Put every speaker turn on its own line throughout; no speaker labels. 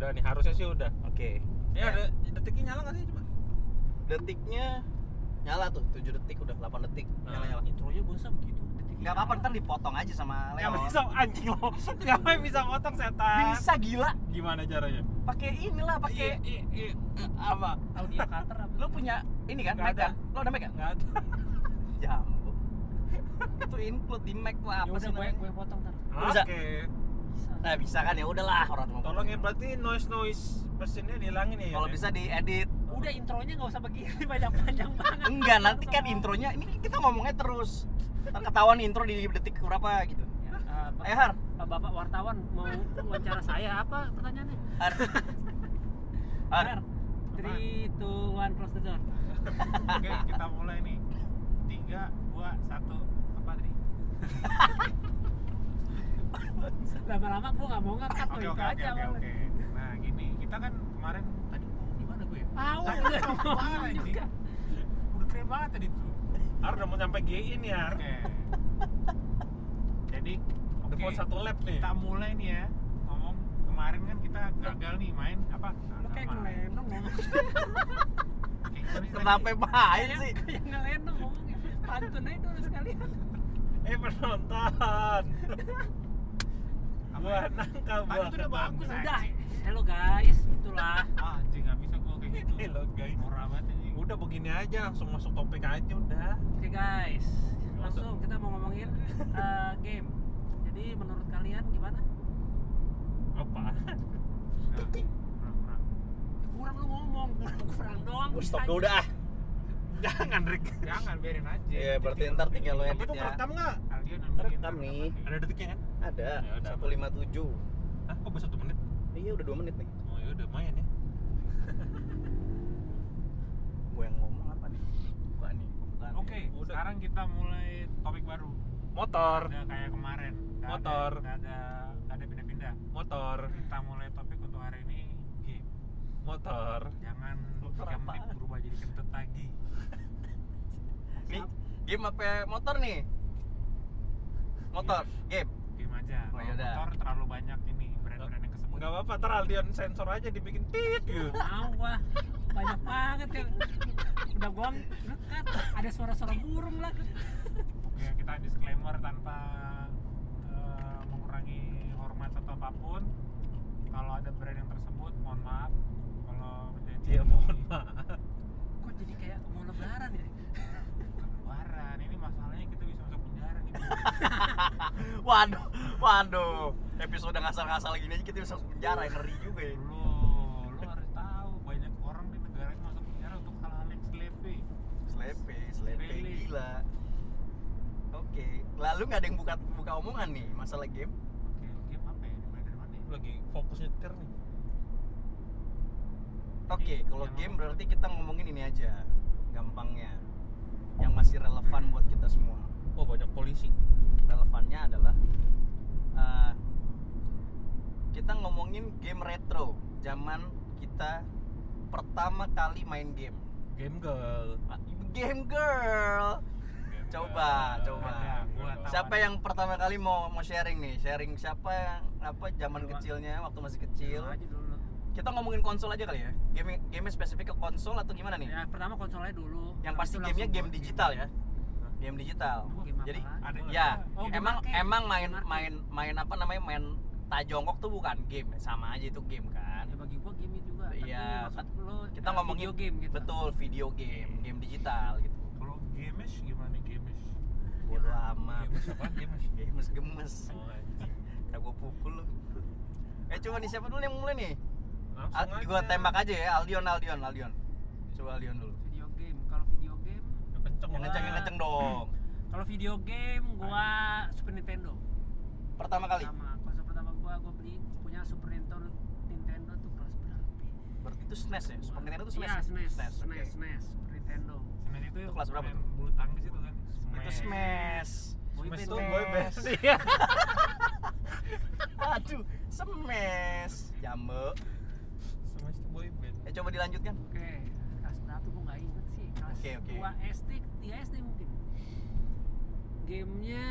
Udah nih, harusnya sih udah. Ya.
Oke.
Ini ada detiknya nyala nggak sih coba?
Detiknya nyala tuh, 7 detik udah 8 detik
Nah,
nyala-nyala.
Intronya bosan begitu. detiknya.
Enggak apa-apa ntar dipotong aja sama
gitu, Nggak
Leo.
bisa anjing lo. Ngapain bisa potong setan?
Bisa gila.
Gimana caranya?
Pakai inilah,
Iya,
pakai
iya, iya. Eh, apa?
Audio cutter apa?
lu punya ini kan,
Nggak
Mac
ada.
kan? Lu ada Mac kan?
Nggak ada.
Jambu. Itu include di Mac tuh apa
Ya
sih
udah gue
namanya?
gue potong ntar.
Bisa.
Oke.
Bisa.
Nah, bisa kan ya udahlah orang cuma
Tolong ya berarti noise noise mesinnya dihilangin ya.
kalau
ya?
bisa diedit.
Udah intronya nggak usah begini panjang-panjang banget.
Enggak, nanti kan intronya ini kita ngomongnya terus. Ntar ketahuan intro di detik berapa gitu.
Ya, eh, Pak-
Eh, Har.
Pak Bapak wartawan mau wawancara saya apa pertanyaannya?
Har. Har.
Har. 3, 2, 1, close the door.
Oke, kita mulai nih. Tiga, dua, satu. Apa tadi?
Lama-lama gue nggak mau ngangkat
Oke,
lo itu
oke, oke,
aja.
oke, oke. Nah, gini, kita kan kemarin tadi oh, gimana gue ya?
Tahu
Tadi
gue
sama
ngomong
Farah,
juga.
anjing. Udah keren banget tadi tuh.
Ar udah mau sampai GI nih Ar.
Oke. Jadi,
Udah
oke.
mau satu lap nih.
Kita mulai nih ya. Ngomong kemarin kan kita gagal nih main apa?
Lu kayak
Agama.
ngelenong ngomong.
Oke, kita nih tadi.
Kenapa bahaya
Kayak
sih?
kayak ngelenong ngomongnya. Pantun aja dulu sekalian.
Eh penonton.
Apa
Buah
ya?
nangka
Tadi
buah.
tuh udah
ketang.
bagus aja.
Udah. Hello guys, itulah.
Ah, anjing nggak bisa gue kayak gitu.
Ini loh guys.
Murah banget anjing.
Udah begini aja langsung masuk topik aja udah.
Oke guys, langsung kita mau ngomongin eh, game. Jadi menurut kalian gimana?
Apa?
Nah, kurang-kurang.
Ya, Kurang lu ngomong, kurang kurang doang.
Stop dulu dah.
Jangan Rick.
Jangan biarin aja.
Iya, berarti ntar tinggal lo
Kamu tuh
editnya.
perekam nggak?
Kalian ambil
Rekam nih.
Ada detiknya kan?
Ada
Ya udah.
157.
Hah, kok bisa satu menit?
Iya, udah 2 menit nih.
Oh ya udah lumayan ya.
Gue yang ngomong apa nih? Bukan nih, bukan.
Oke,
Udah.
sekarang kita mulai topik baru.
Motor,
Udah kayak kemarin. Nggak
Motor.
Ada, nggak ada, nggak ada pindah-pindah.
motor,
Kita mulai topik untuk hari ini game.
motor.
Jangan
Motor
tiga
apaan?
menit berubah jadi kentut lagi.
Nih, game apa motor nih? Motor, game.
Game aja.
Oh,
Kalau
yaudah.
motor terlalu banyak ini brand-brand yang kesebut.
Enggak apa-apa, ntar Aldion sensor aja dibikin tit gitu.
Mau gua banyak banget ya. Udah gua dekat, ada suara-suara burung lah.
Oke, kita disclaimer tanpa eh, mengurangi hormat atau apapun. Kalau ada brand yang tersebut, mohon maaf. Kalau menjadi
Iya, mohon maaf.
Kok jadi kayak mau lebaran ya?
Lebaran, ini masalahnya kita bisa masuk penjara nih.
Waduh, waduh. Episode ngasal-ngasal gini aja kita bisa masuk penjara, ngeri juga ya.
Lu, lu harus tahu banyak orang di negara ini masuk penjara untuk hal-hal yang selepe.
Slepe, slepe
Slepe.
gila. Oke, lalu nggak ada yang buka buka omongan nih masalah game.
Oke, game apa ya? Dimulai dari mana? ya?
Lu Lagi fokus nyetir nih.
Oke,
Iya,
kalau
yang
game
apa?
berarti kita ngomongin ini aja, gampangnya, yang masih relevan buat kita semua.
Oh, banyak polisi.
Relevannya adalah eh, kita ngomongin game retro, zaman kita pertama kali main game.
Game girl.
Ah, Game girl.
Eh,
Coba, coba.
Ada, gua tahu
Siapa
ada.
yang pertama kali mau mau sharing nih? Sharing siapa yang apa zaman
Duluan.
kecilnya waktu masih kecil?
Aja dulu.
Kita ngomongin konsol aja kali ya. Game game spesifik ke konsol atau gimana nih?
Ya pertama konsolnya dulu.
Yang
Habis
pasti
itu
gamenya
langsung
game
buat
digital ya. Game digital.
Emang game apa
Jadi
lagi?
Ada juga.
ya,
Oh, game
emang
arcade.
emang main
Game arcade.
main main apa namanya? Main tajongkok tuh bukan game, ya? sama aja itu game kan.
Ya bagi gua game juga. tapi
Iya,
maksud lu,
Kita
eh,
ngomongin
video game gitu.
Betul, video game, game digital gitu.
Kalau games gimana nih games?
Bodoh amat.
Game apa? Game masih.
Gemes gemes.
Oh, anjing.
Kita gua pukul lu. Eh coba nih siapa dulu yang mulai nih? Al,
Langsung aja.
gua tembak aja ya, Aldion, Aldion, Aldion. Coba Aldion dulu.
Video game. Kalau video game,
Yang kenceng
Yang
banget.
kenceng, yang kenceng dong.
kalau video game gua Super Nintendo.
Pertama kali.
Pertama, konsol pertama gua gua beli punya Super Nintendo Nintendo tuh kelas berapa?
Berarti itu SNES ya? Super Nintendo itu SNES.
Iya, SNES,
SNES.
SNES,
oke.
SNES, Super Nintendo.
Semen itu,
Itu kelas berapa
main
tuh?
Bulu tangkis itu kan.
Itu SMES.
Smash
Boyband.
tuh boy band.
Smash.
Iya.
Aduh, SMES. Jambe.
Smash tuh boy band.
Eh coba dilanjutkan.
Oke, kelas berapa gua nggak inget sih. Kelas
Oke, oke.
2 SD, 3 SD mungkin. Gamenya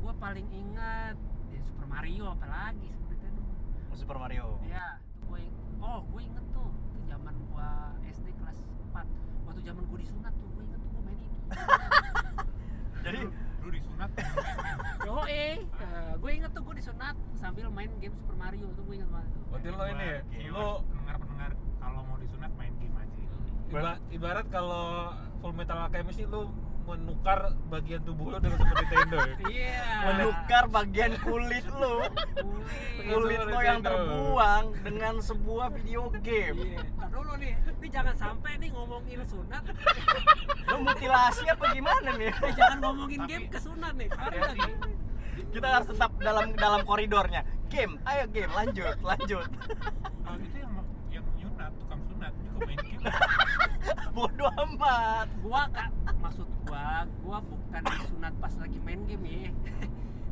gua paling ingat ya Super Mario apalagi Super Nintendo.
Oh, Super Mario.
Ya, itu gua ing- oh gue inget tuh itu zaman gua SD kelas 4 waktu zaman gua disunat tuh gue inget tuh gue main itu
Jadi
lu disunat
yo eh gue inget tuh gue disunat sambil main game Super Mario tuh gue inget banget tuh
Berarti lo ini ya, lo
lo pendengar pendengar kalau mau disunat main game aja
iba- ibarat kalau full metal alchemist sih lo menukar bagian tubuh lo dengan Super Nintendo ya.
iya
menukar bagian kulit lu
kulit
kulit lo yang terbuang dengan sebuah video game
Iya, ntar dulu nih, ini jangan sampai nih ngomongin sunat,
lo mutilasi apa gimana nih
eh jangan ngomongin
Tapi-
game ke sunat nih, kemarin
Hati-hati.
lagi
kita harus tetap dalam dalam koridornya game ayo game lanjut lanjut
kalau itu yang yang nyunat tukang sunat juga main game
bodoh amat
gua kak, maksud gua, gua bukan disunat pas lagi main game ya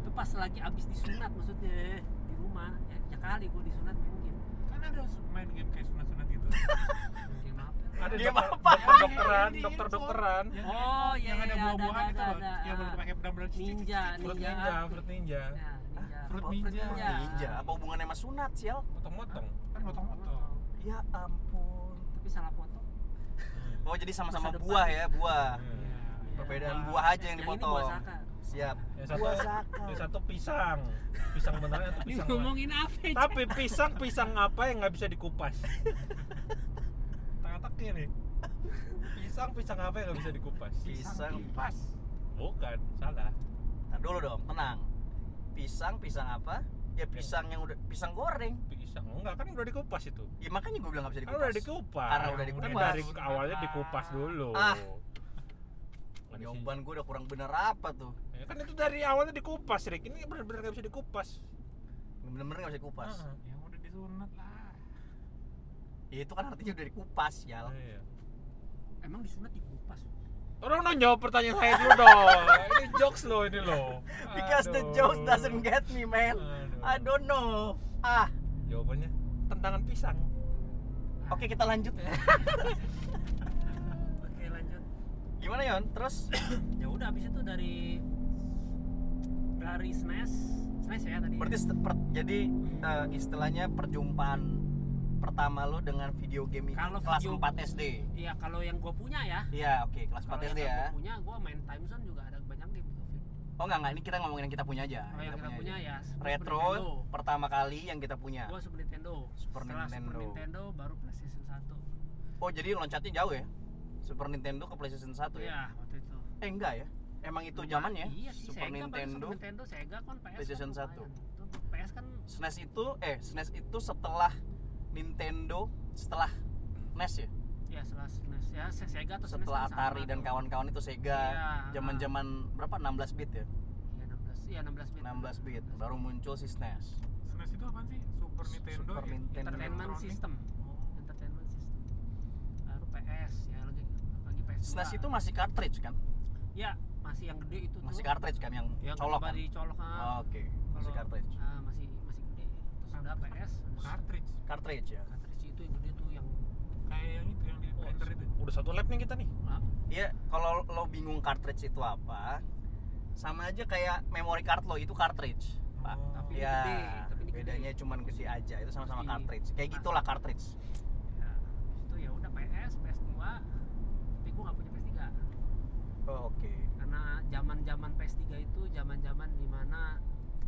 itu pas lagi abis disunat maksudnya di rumah, ya, ya kali gua disunat main game
kan ada main game kayak sunat sunat gitu
Main game apa?
Ada
Game
dokter,
apa?
dokter-dokteran,
Ini
dokter-dokteran.
Yang-
Oh, iya,
yang ada
iya, ada,
buah-buahan
ada,
itu loh
ada, ada.
yang pakai pedang-pedang
Ninja,
Fruit
ninja,
ninja, fruit ninja.
Iya.
Nah, ninja.
Fruit
Apa-
Ninja.
Fruit ninja apa hubungannya sama sunat sial
Potong-potong.
kan
Hmm.
motong-motong
ya ampun
Tapi salah foto.
oh jadi sama-sama
Masa depan.
buah ya buah
Iya,
Hmm.
perbedaan
Buah.
buah aja yang
Yang ini
dipotong
gua saka.
siap
Yang satu,
buah zakar
yang satu pisang. Pisang beneran atau
Ini
pisang? lain?
ngomongin apa? ya?
Tapi pisang pisang apa yang nggak bisa dikupas? Tengah-tengah nih. Pisang pisang apa yang nggak bisa dikupas?
pisang
kipas
Bukan, salah.
Nah, dulu dong, tenang. Pisang, pisang apa? Ya pisang yang udah pisang goreng.
Pisang enggak kan udah dikupas itu.
Ya makanya gue bilang gak bisa
Kan udah
dikupas.
dikupas.
Karena udah
Kan
dikupas.
dari awalnya dikupas dulu.
Ah.
Kan isi-
Jawaban gue Ya, udah kurang bener apa tuh?
Ya kan itu dari awalnya dikupas, Rick. Ini benar-benar nggak bisa dikupas.
Bener-bener gak bisa dikupas.
Ah.
Ya, yang udah disunat lah
Ya itu kan artinya udah dikupas, ya.
Iya.
Emang disunat dikupas.
Tolong dong jawab pertanyaan saya dulu dong. ini jokes lo ini lo.
Because the jokes doesn't get me, man. I
Aduh.
don't know. Ah,
Jawabannya tentangan pisang.
oke kita lanjut.
Oke, lanjut.
Gimana Yon? Terus
ya udah habis itu dari dari SNES SNES ya tadi
berarti st- per- jadi eh, istilahnya perjumpaan pertama lo dengan video game itu
Kalau
kelas
video-
4 SD.
iya kalau yang gua punya ya
Iya, oke, kelas
kalau
4
yang
SD
gua
ya.
punya gua main Time Zone juga ada banyak game tuh Fit.
Oh enggak enggak, ini kita ngomongin yang kita punya aja.
kalau Oh, yang kita
aja.
punya ya Super Nintendo.
retro pertama kali yang kita punya.
gua Super Nintendo
Super
setelah Super
Nintendo.
Nintendo baru PlayStation 1
Oh, jadi loncatnya jauh ya? Super Nintendo ke PlayStation 1 ya?
iya waktu itu
Eh, enggak ya? Emang itu
Lumayan.
zamannya
iya sih,
Super
Sega, paling
Nintendo.
Super Nintendo Sega kan PS
PlayStation
kan lumayan.
1.
Itu PS kan
SNES itu eh SNES itu setelah Nintendo setelah NES ya?
ya setelah SNES ya Se- Sega atau SNES
Setelah
kan sama
Atari dan
tuh.
kawan-kawan itu Sega.
Iya,
Zaman-zaman berapa? 16 bit ya?
iya 16 iya 16 bit
16 bit baru muncul si SNES.
Iya.
SNES itu apa sih Super Nintendo
Super
ya?
Nintendo.
entertainment
Elektronik.
system
Oh.
entertainment system baru PS ya lagi lagi PS
SNES
dua.
itu masih cartridge kan?
ya masih yang gede itu
Masih
tuh
cartridge kan yang
yang
colok
coba
kan?
dicolok kan
Oh, Oke, masih
Kalau-
cartridge.
Ah, masih masih gede terus udah PS udah
cartridge
Cartridge ya.
cartridge itu yang gede tuh yang
kayak yang itu yang di printer itu
Udah satu lap nih kita nih.
ah,
Iya, kalau lo bingung cartridge itu apa, sama aja kayak memory card lo itu cartridge, Pak.
Oh.
Tapi ini
ya,
gede, tapi ini gede.
bedanya cuman gede aja, itu sama-sama
Terus di-
cartridge. Kayak gitulah cartridge.
ya habis itu ya udah PS PS 2 tapi gua nggak punya PS 3
Oh, oke.
karena zaman zaman PS 3 itu zaman zaman dimana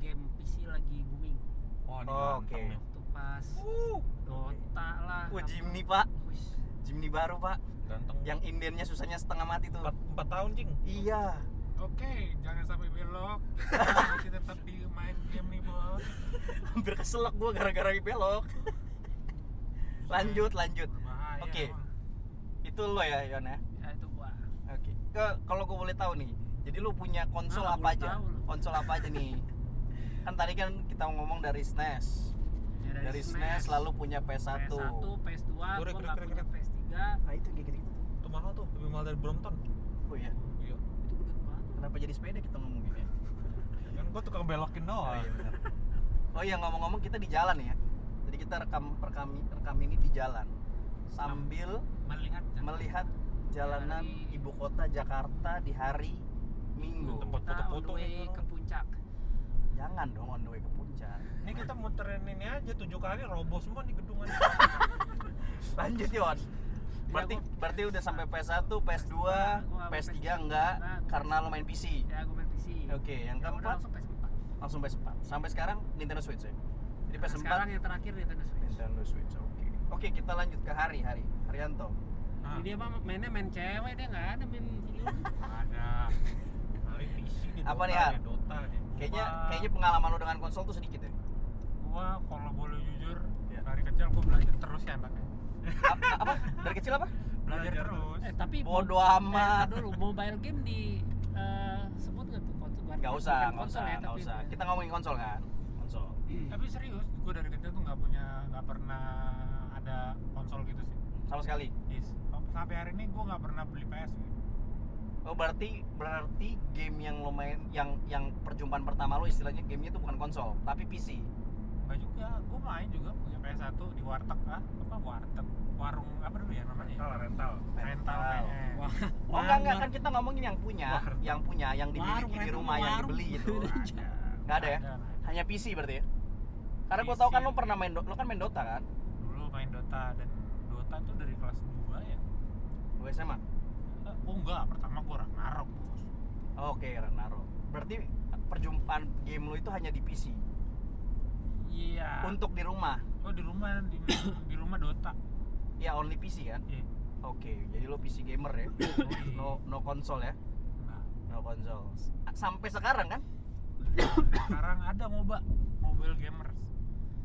game PC lagi booming
Oh,
ini Oh, oke. ganteng nih.
waktu pas
Uh,
Dota lah
Wah,
apa-
Jimny, Pak.
Wih,
Jimny baru, Pak.
ganteng.
Yang indennya susahnya setengah mati tuh.
empat, empat tahun, Jing.
Iya.
oke jangan sampai belok kita masih tetap di main game nih bos
Hampir keselak gua gara-gara belok. lanjut, lanjut.
Bahaya,
Oke.
Bang.
Itu lo ya, Yon ya.
ya itu gua
Oke. Ke- Kalau gue boleh tahu nih, jadi lu punya konsol
Ah,
apa
boleh
aja?
tahu lu.
Konsol apa aja nih? Kan tadi kan kita ngomong dari SNES.
Ya,
Dari SNES lalu punya PS1.
PS1, PS2, gua
Korek,
nggak
korek,
punya
korek.
PS3
Nah, itu gitu-gitu.
Itu mahal tuh, lebih mahal dari Brompton.
Oh ya,
Iya.
itu gede banget
kenapa jadi sepeda kita ya? ngomonginnya?
Kan gua tukang belokin
Oh,
doang.
iya benar. Oh iya ngomong-ngomong kita di jalan ya. Jadi kita rekam rekam rekam ini di jalan sambil
melihat
melihat jalanan
Hari-
ibu kota Jakarta di hari Minggu.
Tempat
kita on
foto-foto
the way
nih,
ke
orang.
puncak
jangan dong on the way ke puncak
Ini kita muterin ini aja tujuh kali roboh semua di gedungan.
lanjut Yon berarti
gua-
berarti udah sampai PS1 PS2
Gua- gua
PS3
PS3
enggak
enggak, gua
karena lo main PC
ya gue main PC
oke yang
Ya udah,
keempat
langsung PS4
langsung PS4 sampai sekarang Nintendo Switch ya jadi
Nah,
PS4
sekarang yang terakhir Nintendo Switch
Nintendo Switch oke oke kita lanjut ke hari hari Haryanto
Nah,
dia mah mainnya main cewek dia nggak ada main video
ada. Paling PC di
Apa
Dota
nih, Har?
ya, Dota ya.
kayaknya
Wah.
kayaknya pengalaman lo dengan konsol tuh sedikit ya
gua kalau boleh jujur
Iya.
dari kecil gua belajar terus ya anaknya
Ap- apa dari kecil apa
belajar,
Belajar
terus
eh tapi
bodoh
Eh,
amat
ntar dulu mobile game di eh, sebut nggak tuh konsol
nggak usah
Bukan
nggak usah
ya,
nggak
tapi-
usah kita ngomongin konsol kan konsol
tapi serius gua dari kecil tuh nggak punya nggak pernah ada konsol gitu sih
sama sekali
yes. sampai hari ini gua nggak pernah beli PS
Oh berarti berarti game yang lo main yang yang perjumpaan pertama lo istilahnya gamenya itu bukan konsol tapi PC.
nggak juga gua main juga punya PS1 di warteg ah apa warteg warung apa dulu ya namanya
Rental, rental.
rental
Rental.
kayaknya
Wah,
Oh enggak enggak kan kita ngomongin yang punya,
Warung.
yang punya, yang dimiliki di
rental
rumah yang
warung.
dibeli gitu.
Ada.
Nggak ada ya?
Nggak ada.
Hanya PC berarti ya. Karena gue tau kan
PC.
lo pernah main do- lo kan main Dota kan?
dulu main Dota dan Dota tuh dari kelas 2 ya
Gue SMA.
Eh, oh enggak pertama gua Ragnarok bos
Oke Renaro. Berarti perjumpaan game lo itu hanya di PC
iya
untuk di rumah.
oh di rumah di, di rumah Dota
Ya only PC kan?
Iya.
Oke, jadi lo PC gamer ya. No no konsol ya.
Nah,
No konsol. Sampai sekarang kan?
sekarang ada MOBA Mobile Gamers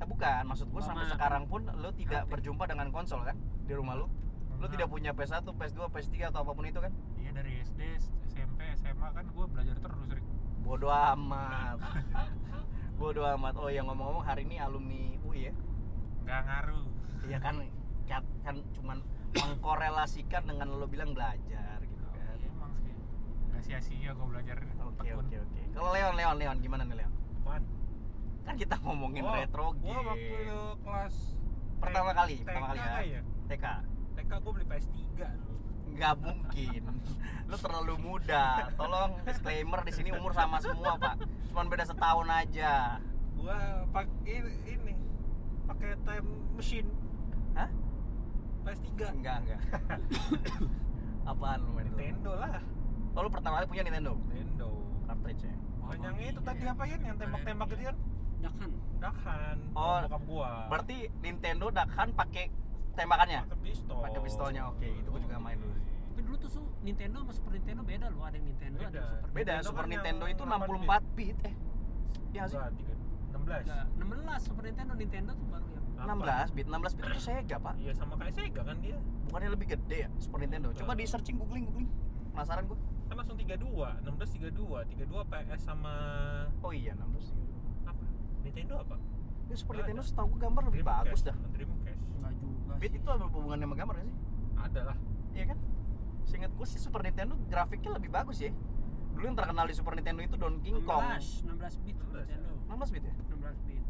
Eh, bukan, maksud gue sampai
Mama.
sekarang pun lo tidak
Hati.
berjumpa dengan konsol kan di rumah lo. Lo
Enggak.
tidak punya PS1, PS2, PS3 atau apapun itu kan?
iya dari SD SMP SMA kan gue belajar terus Rick
Bodoh amat. Bodoh amat. Oh, yang ngomong-ngomong hari ini alumni UI ya.
nggak ngaruh
Iya kan kan, kan cuman mengkorelasikan dengan lo bilang belajar gitu
Oh,
kan.
iya emang sih nggak sia-sia gue belajar
Oke,
tekun.
oke, oke. Kalau Leon, Leon, Leon gimana nih Leon?
Apaan? Iya.
Kan kita ngomongin
Oh,
retro game.
Gua waktu lu kelas
Pertama kali,
TK
pertama kali ya.
ya.
TK.
TK gua beli PS3 lu.
Nggak mungkin. Lu terlalu muda. Tolong disclaimer di sini umur sama semua, Pak. Cuman beda setahun aja.
Gua pakai ini pakai time machine.
Hah? Iya,
PS3.
Enggak, enggak. Apaan lu main itu?
Nintendo lah.
Oh, lu pertama kali punya Nintendo
Nintendo.
cartridge ya?
Wah,
Oh, Yang
iya,
itu tadi
iya.
apa ya yang tembak-tembak gitu kan?
Dakan.
Dakhan.
Oh,
bokap gua.
Berarti Nintendo Dakhan pakai tembakannya.
pakai pistol.
Pakai pistolnya. Oke, itu gua juga main dulu.
tapi dulu tuh su- Nintendo sama Super Nintendo beda loh ada yang Nintendo ada yang
Beda.
Beda,
Super
Nintendo
Super
kan yang
Nintendo itu
8
64 bit eh. Ya sih. Iya.
Enggak, tiga- 16.
Nintendo. Enggak, 16 Super Nintendo Nintendo tuh baru yang
Apa?
16 bit, 16 bit itu Sega, Pak.
Iya sama kayak Sega kan dia.
Bukannya lebih gede ya Super Nintendo. Coba di searching googling googling. Penasaran gua.
Kan langsung 32, 16 32, 32 PS sama
Oh iya, 16.
apa? Nintendo apa?
Ya Super
Nggak
Nintendo
ada.
setahu gua gambar lebih bagus dah.
Dreamcast.
enggak juga
Bit itu apa hubungannya sama gambar nggak sih?
Ada lah.
Iya kan? Seingat gue sih Super Nintendo grafiknya lebih bagus ya. Dulu yang terkenal di Super Nintendo itu Donkey Kong.
16, 16 bit Super
16,
Nintendo
16 bit ya?
16 bit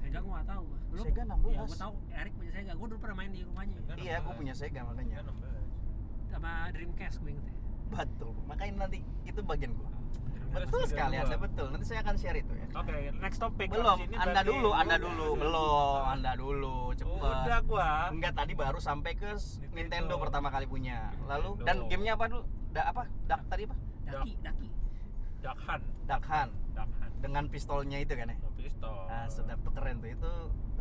Sega gua nggak tahu gua. Lu?
Sega
Ya,
16.
gua tahu Erik punya Sega. Gua dulu pernah main di rumahnya.
Sega.
Iya, gue punya Sega
Ya
makanya.
16.
Sama Dreamcast gua inget ya.
Betul. Makanya nanti itu bagian gue.
Dreamcast
Betul
32.
sekali Anda, betul. Nanti saya akan share itu ya.
Oke, next topic.
Belum,
Abis ini
Anda
berarti- ya. Oh, iya,
dulu, Anda dulu, belum, Anda dulu,
Udah
cepet.
gua.
Enggak tadi baru sampai ke s-
Nintendo.
Nintendo pertama kali punya. Lalu
Nintendo.
dan gamenya apa dulu? Da apa? Dak tadi apa?
Daki, daki.
Dakhan,
Dakhan
Dakhan.
dengan pistolnya itu kan ya?
No pistol.
Ah, sedap tuh keren tuh itu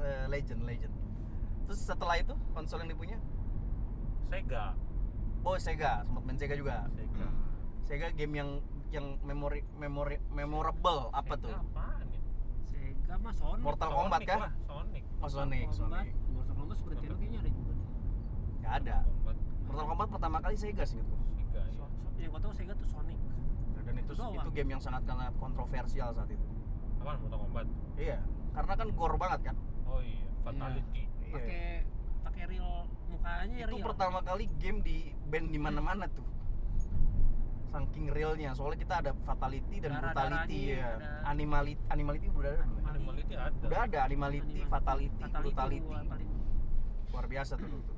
eh, legend legend. Terus setelah itu konsol yang dipunya,
Sega.
oh Sega, sempat main Sega juga.
Sega.
Sega game yang yang memori memori memorable apa tuh?
Sega apaan ya?
Sega mah Sonic.
Mortal Kombat
Sonic
kah?
lah, Sonic.
Oh Sonic, Sonic. Iya.
Mortal Kombat Super Nintendo kayaknya ada ya. juga. deh.
Gak ada.
Kombat
Mortal Kombat pertama kali Sega sih gitu.
Sega. ya.
So- so- Yang gua tahu Sega tuh Sonic.
Iya. Dan itu
Itu doang.
itu game yang sangat sangat kontroversial saat itu.
Apaan Mortal Kombat?
Iya, karena kan gore banget kan.
Oh iya, Fatality.
Iya.
Pakai pakai real mukanya
Itu
real.
pertama kali game di band di mana-mana tuh. Saking realnya, soalnya kita ada fatality dan
Darah-darahnya,
brutality ya.
ada-
Animality, animality udah ada. belum ya?
Animality ada.
udah ada animality,
Animal-
fatality,
Fatality
brutality
gua paling
luar biasa tuh dulu tuh.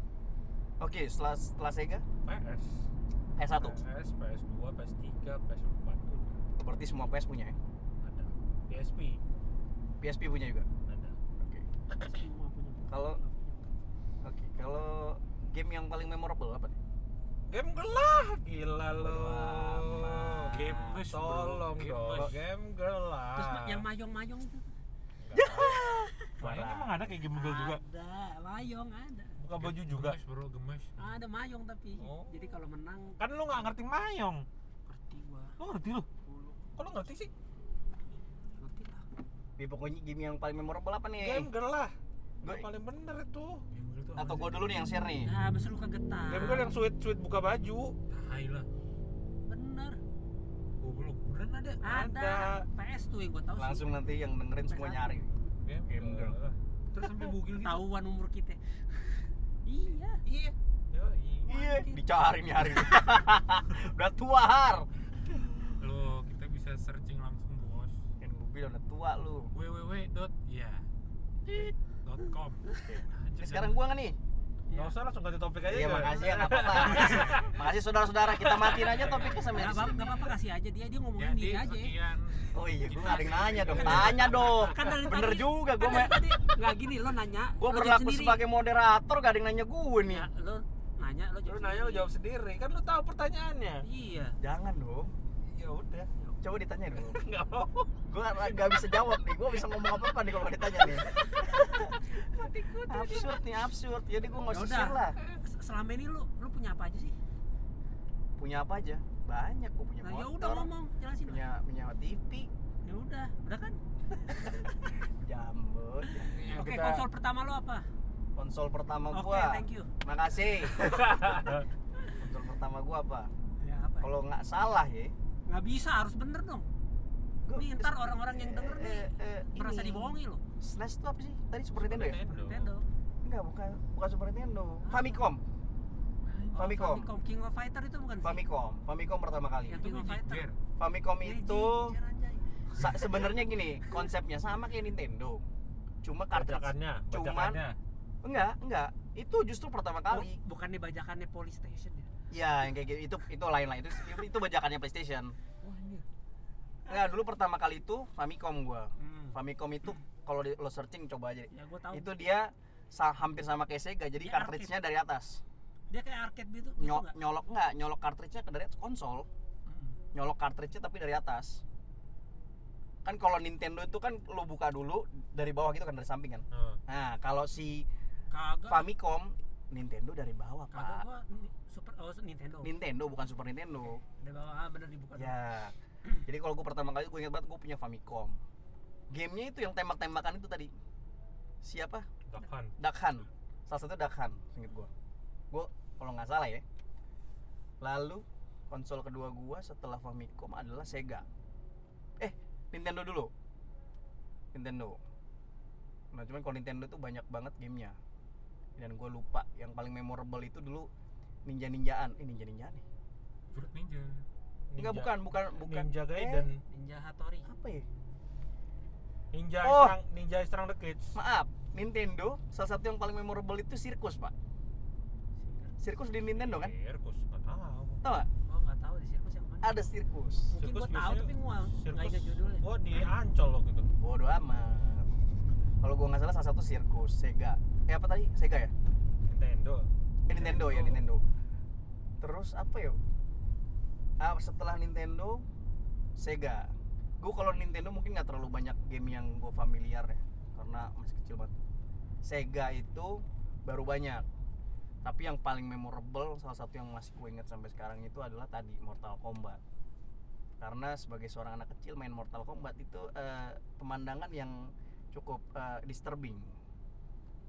oke setelah setelah Sega Eh,
PS.
PS1
PS, PS2, PS3, PS4.
berarti semua PS punya ya
Ada. PSP
PSP punya juga
ada
oke
semua punya
Kalau- oke kalau game yang paling memorable apa nih
game gelap gila lo
Bodo amat.
Game bus, bro.
tolong
Game
dong
bus.
game gelap
terus yang mayong-mayong itu
Mayang emang ada kayak game Google juga.
ada mayong ada
buka baju juga
Gemes bro, gemes.
ada mayong tapi
Oh.
jadi kalau menang
Kan lu nggak ngerti mayong.
ngerti gua
Lu ngerti lu?
dulu
kok lo ngerti sih
ngerti lah
Bi, Ya, pokoknya game yang paling memorable apa nih
game gelap
Gua-
yang paling bener itu
Ah. atau gua dulu nih yang share nih
nah mesti lu kegetan
game gelap yang sweet sweet buka baju
Tai lah.
bener
Goblok. Beneran ada.
ada
Ada.
PS tuh yang gua tahu sih
langsung nanti yang dengerin semua nyari
game,
Game
gelap
gelap.
Terus sampai bugil gitu.
tahuan umur kita iya
iya Yoi.
iya dicari nyari udah tua har
Lo kita bisa searching langsung bos. ya.
kan gua bilang udah tua lu
www.ya.com. Nah,
ini sekarang gua nggak nih
nggak usah langsung ganti topik aja
Iya,
ya.
makasih ya, nggak apa-apa. Makasih, makasih saudara-saudara, kita matiin aja topiknya sampai
Gak
di
apa-apa,
sini.
nggak apa-apa kasih aja dia dia ngomongin
Jadi
diri aja.
ya,
ya.
sekian.
Oh iya, gue ada yang nanya dong, tanya dong.
Kan dari
Bener
tadi-
juga, gue
Kan dari tadi nggak gini lo nanya.
gue
lo
berlaku
jawab
sebagai moderator, gak ada yang nanya gue nih.
Ya, lo nanya lo jawab.
lu nanya lu
sendiri.
jawab sendiri kan lu tahu pertanyaannya
Iya.
Jangan dong, Iya,
ya udah
coba ditanya dong.
nggak mau
Gue gak bisa jawab nih, gue bisa ngomong apa-apa nih kalau ditanya nih. absurd nih, absurd. Jadi gue nggak
Ya
usah
udah.
share lah.
Se- Selama ini lo lo punya apa aja sih?
Punya apa aja? Banyak, gue punya
Nah, ya udah
motor,
ngomong, jelasin.
punya punya TV,
Ya udah, udah kan?
jambut. Ya,
Oke,
kita-
konsol pertama lo apa?
Konsol pertama
Oke,
gue.
thank you.
Makasih. konsol pertama gue apa?
Ya apa?
Kalau nggak salah ya,
Nggak bisa, harus bener dong.
Gua-
Nih ntar orang-orang yang denger nih
Eh, eh,
merasa
ini.
dibohongi lo.
SNES itu apa sih? Tadi Super Nintendo ya?
Nintendo.
Enggak, bukan bukan Super Nintendo. Famicom.
Oh,
Famicom.
King of Fighter itu bukan sih?
Famicom. Famicom pertama kali.
Yang King of Fighter.
Famicom
Ya,
itu
jijik, anjay.
sa- sebenarnya gini, konsepnya sama kayak Nintendo. Cuma cartridge.
bacakannya
Cuman-
bacakannya
Enggak, enggak. Itu justru pertama kali.
Bu- bukannya bajakannya Polystation ya?
Ya, yang kayak gitu itu itu lain lain itu itu bajakannya PlayStation. Nah, dulu pertama kali itu Famicom gua.
Hmm.
Famicom itu kalau di- lo searching coba aja.
Ya gue tahu.
Itu dia sa- hampir sama kayak Sega, jadi
Dia
cartridge-nya dari atas.
Dia kayak arcade gitu. gitu
Nyo-
nggak? Hmm.
nyolok nggak nyolok cartridge-nya ke dari atas konsol nyolok cartridge-nya tapi dari atas kan kalau Nintendo itu kan lo buka dulu dari bawah gitu kan dari samping kan
Heeh.
nah kalau si
Kagak.
Famicom Nintendo dari bawah
Kagak
pak
gua ni- super oh Nintendo.
Nintendo bukan Super Nintendo
Di bawah ah, bener dibuka. dulu.
ya jadi kalau gue pertama kali gue ingat banget gue punya Famicom gamenya itu yang tembak-tembakan itu tadi siapa
Bahkan.
Duck Hunt salah satu Duck Hunt inget gue gue kalau nggak salah ya lalu konsol kedua gue setelah Famicom adalah Sega eh Nintendo dulu Nintendo nah cuman kalau Nintendo tuh banyak banget gamenya dan gue lupa yang paling memorable itu dulu ninja ninjaan eh ninja ninjaan nih
Fruit Ninja.
enggak bukan bukan bukan
Ninja
Eh,
Gaiden
Ninja Hattori.
apa ya
Ninja
Oh.
Strang Ninja Strang the Kids
maaf Nintendo salah satu yang paling memorable itu sirkus pak sirkus di Nintendo kan
Sirkus nggak tahu
tau gak?
Gua nggak tahu di sirkus yang mana.
ada sirkus
Mungkin
Sirkus
gua tahu
biasanya-
tapi gua nggak
Sirkus
ingat judulnya.
gua di Ancol waktu itu
Bodoh amat. Kalau gua nggak salah salah satu sirkus Sega. Eh apa tadi? Sega ya?
Nintendo
Eh, Nintendo ya
Nintendo.
Nintendo. Terus apa ya? Ah, setelah Nintendo Sega. Gue kalau Nintendo mungkin nggak terlalu banyak game yang gue familiar ya, karena masih kecil banget. Sega itu baru banyak. Tapi yang paling memorable salah satu yang masih gue ingat sampai sekarang itu adalah tadi Mortal Kombat. Karena sebagai seorang anak kecil main Mortal Kombat itu eh, pemandangan yang cukup eh, disturbing.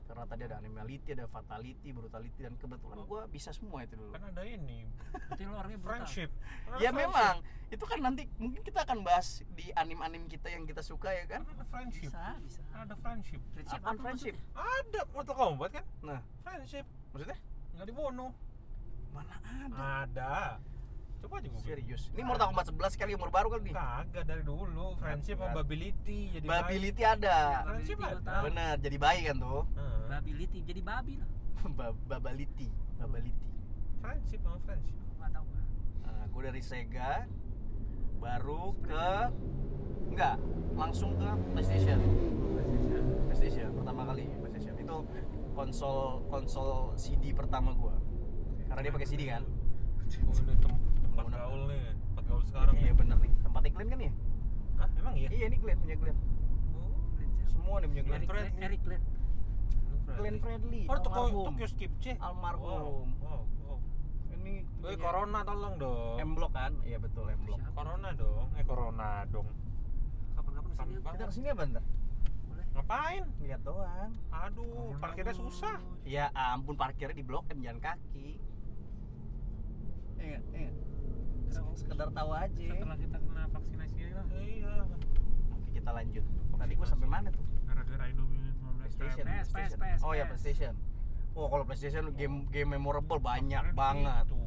Karena tadi ada animality, ada fatality, brutality dan kebetulan
Oh.
gue bisa semua itu dulu.
kan ada ini
Berarti lo orangnya brutal.
friendship Kan ada
Ya
friendship.
memang itu kan nanti mungkin kita akan bahas di anim-anim kita yang kita suka ya
kan
kan.
ada friendship
Bisa, bisa.
kan ada friendship
Friendship
Apaan
apa
friendship?
maksudnya?
ada Mortal Kombat kan
Nah,
friendship
maksudnya
nggak dibunuh
mana ada?
ada coba aja gue
Serius. Ini Mortal Kombat 11 kali umur baru kali nih.
kagak dari dulu friendship
Kagak.
sama ability jadi baik.
Bability ada.
Friendship
Bability gua
ada.
tahu.
Bener, jadi bayi kan tuh.
Heeh.
Bability jadi babi lah.
Ba- Babality, Babality.
friendship sama friendship
Ah,
Enggak tahu gua.
Nah, gue dari Sega baru ke Enggak, langsung ke PlayStation. PlayStation pertama kali PlayStation itu konsol konsol CD pertama gua. Karena dia pakai CD kan.
Oh, ini tem- tempat gaul nih, tempat gaul sekarang.
Iya
nih.
bener nih, tempatnya Glenn kan ya?
Hah, emang iya?
Iya ini Glenn punya Glenn.
Oh.
Semua nih punya Glenn.
Glenn Fredly.
Eric Glenn.
Glenn Fredly.
Oh, toko
almarhum.
Tokyo Skip C.
Almarhum.
Wow, wow.
Ini iya.
Eh,
punya
corona tolong dong.
M Block kan? Iya betul M Block.
Siapa?
corona dong. Eh, corona dong.
Kapan-kapan kesini yuk.
Sampah.
Kita kesini apa ntar?
boleh.
Ngapain?
Lihat doang.
Aduh, parkirnya susah.
Ya ampun parkirnya di Blok M jalan kaki. Iya, iya. Sekedar tahu aja.
Setelah kita kena vaksinasi aja lah.
Iya.
Oke, kita lanjut. Tadi gua sampai mana tuh?
Gara-gara Indomie 15
PlayStation.
PM.
PS,
PlayStation.
PS,
Oh ya
PS.
PlayStation. Oh kalau PlayStation game game memorable banyak
Keren sih
banget.
itu.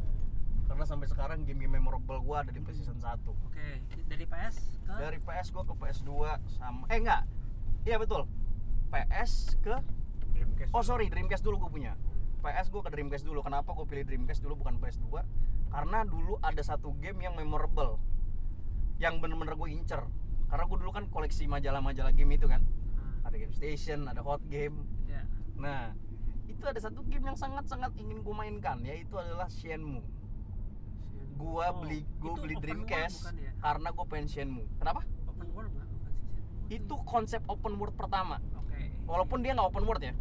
Karena sampai sekarang game-game memorable gua ada di PlayStation 1.
Oke, dari PS ke Ah,
Dari PS gua ke PS2 sama eh enggak. Iya betul. PS ke
Dreamcast.
Oh sorry, Dreamcast dulu gue punya. PS gue ke Dreamcast dulu. Kenapa gue pilih Dreamcast dulu bukan PS2? Karena dulu ada satu game yang memorable, yang bener-bener gue incer. Karena gue dulu kan koleksi majalah-majalah game itu kan.
Nah,
Ada Game Station, ada Hot Game.
ya.
Nah, itu ada satu game yang sangat-sangat ingin gue mainkan, yaitu adalah Shenmue. Gue
Oh,
beli gue
itu
beli
open
Dreamcast
world bukan ya?
karena gue pengen Shenmue. Kenapa?
Open world bukan, bukan sih, Sen?
Itu konsep open world pertama.
Oke.
walaupun dia nggak open world ya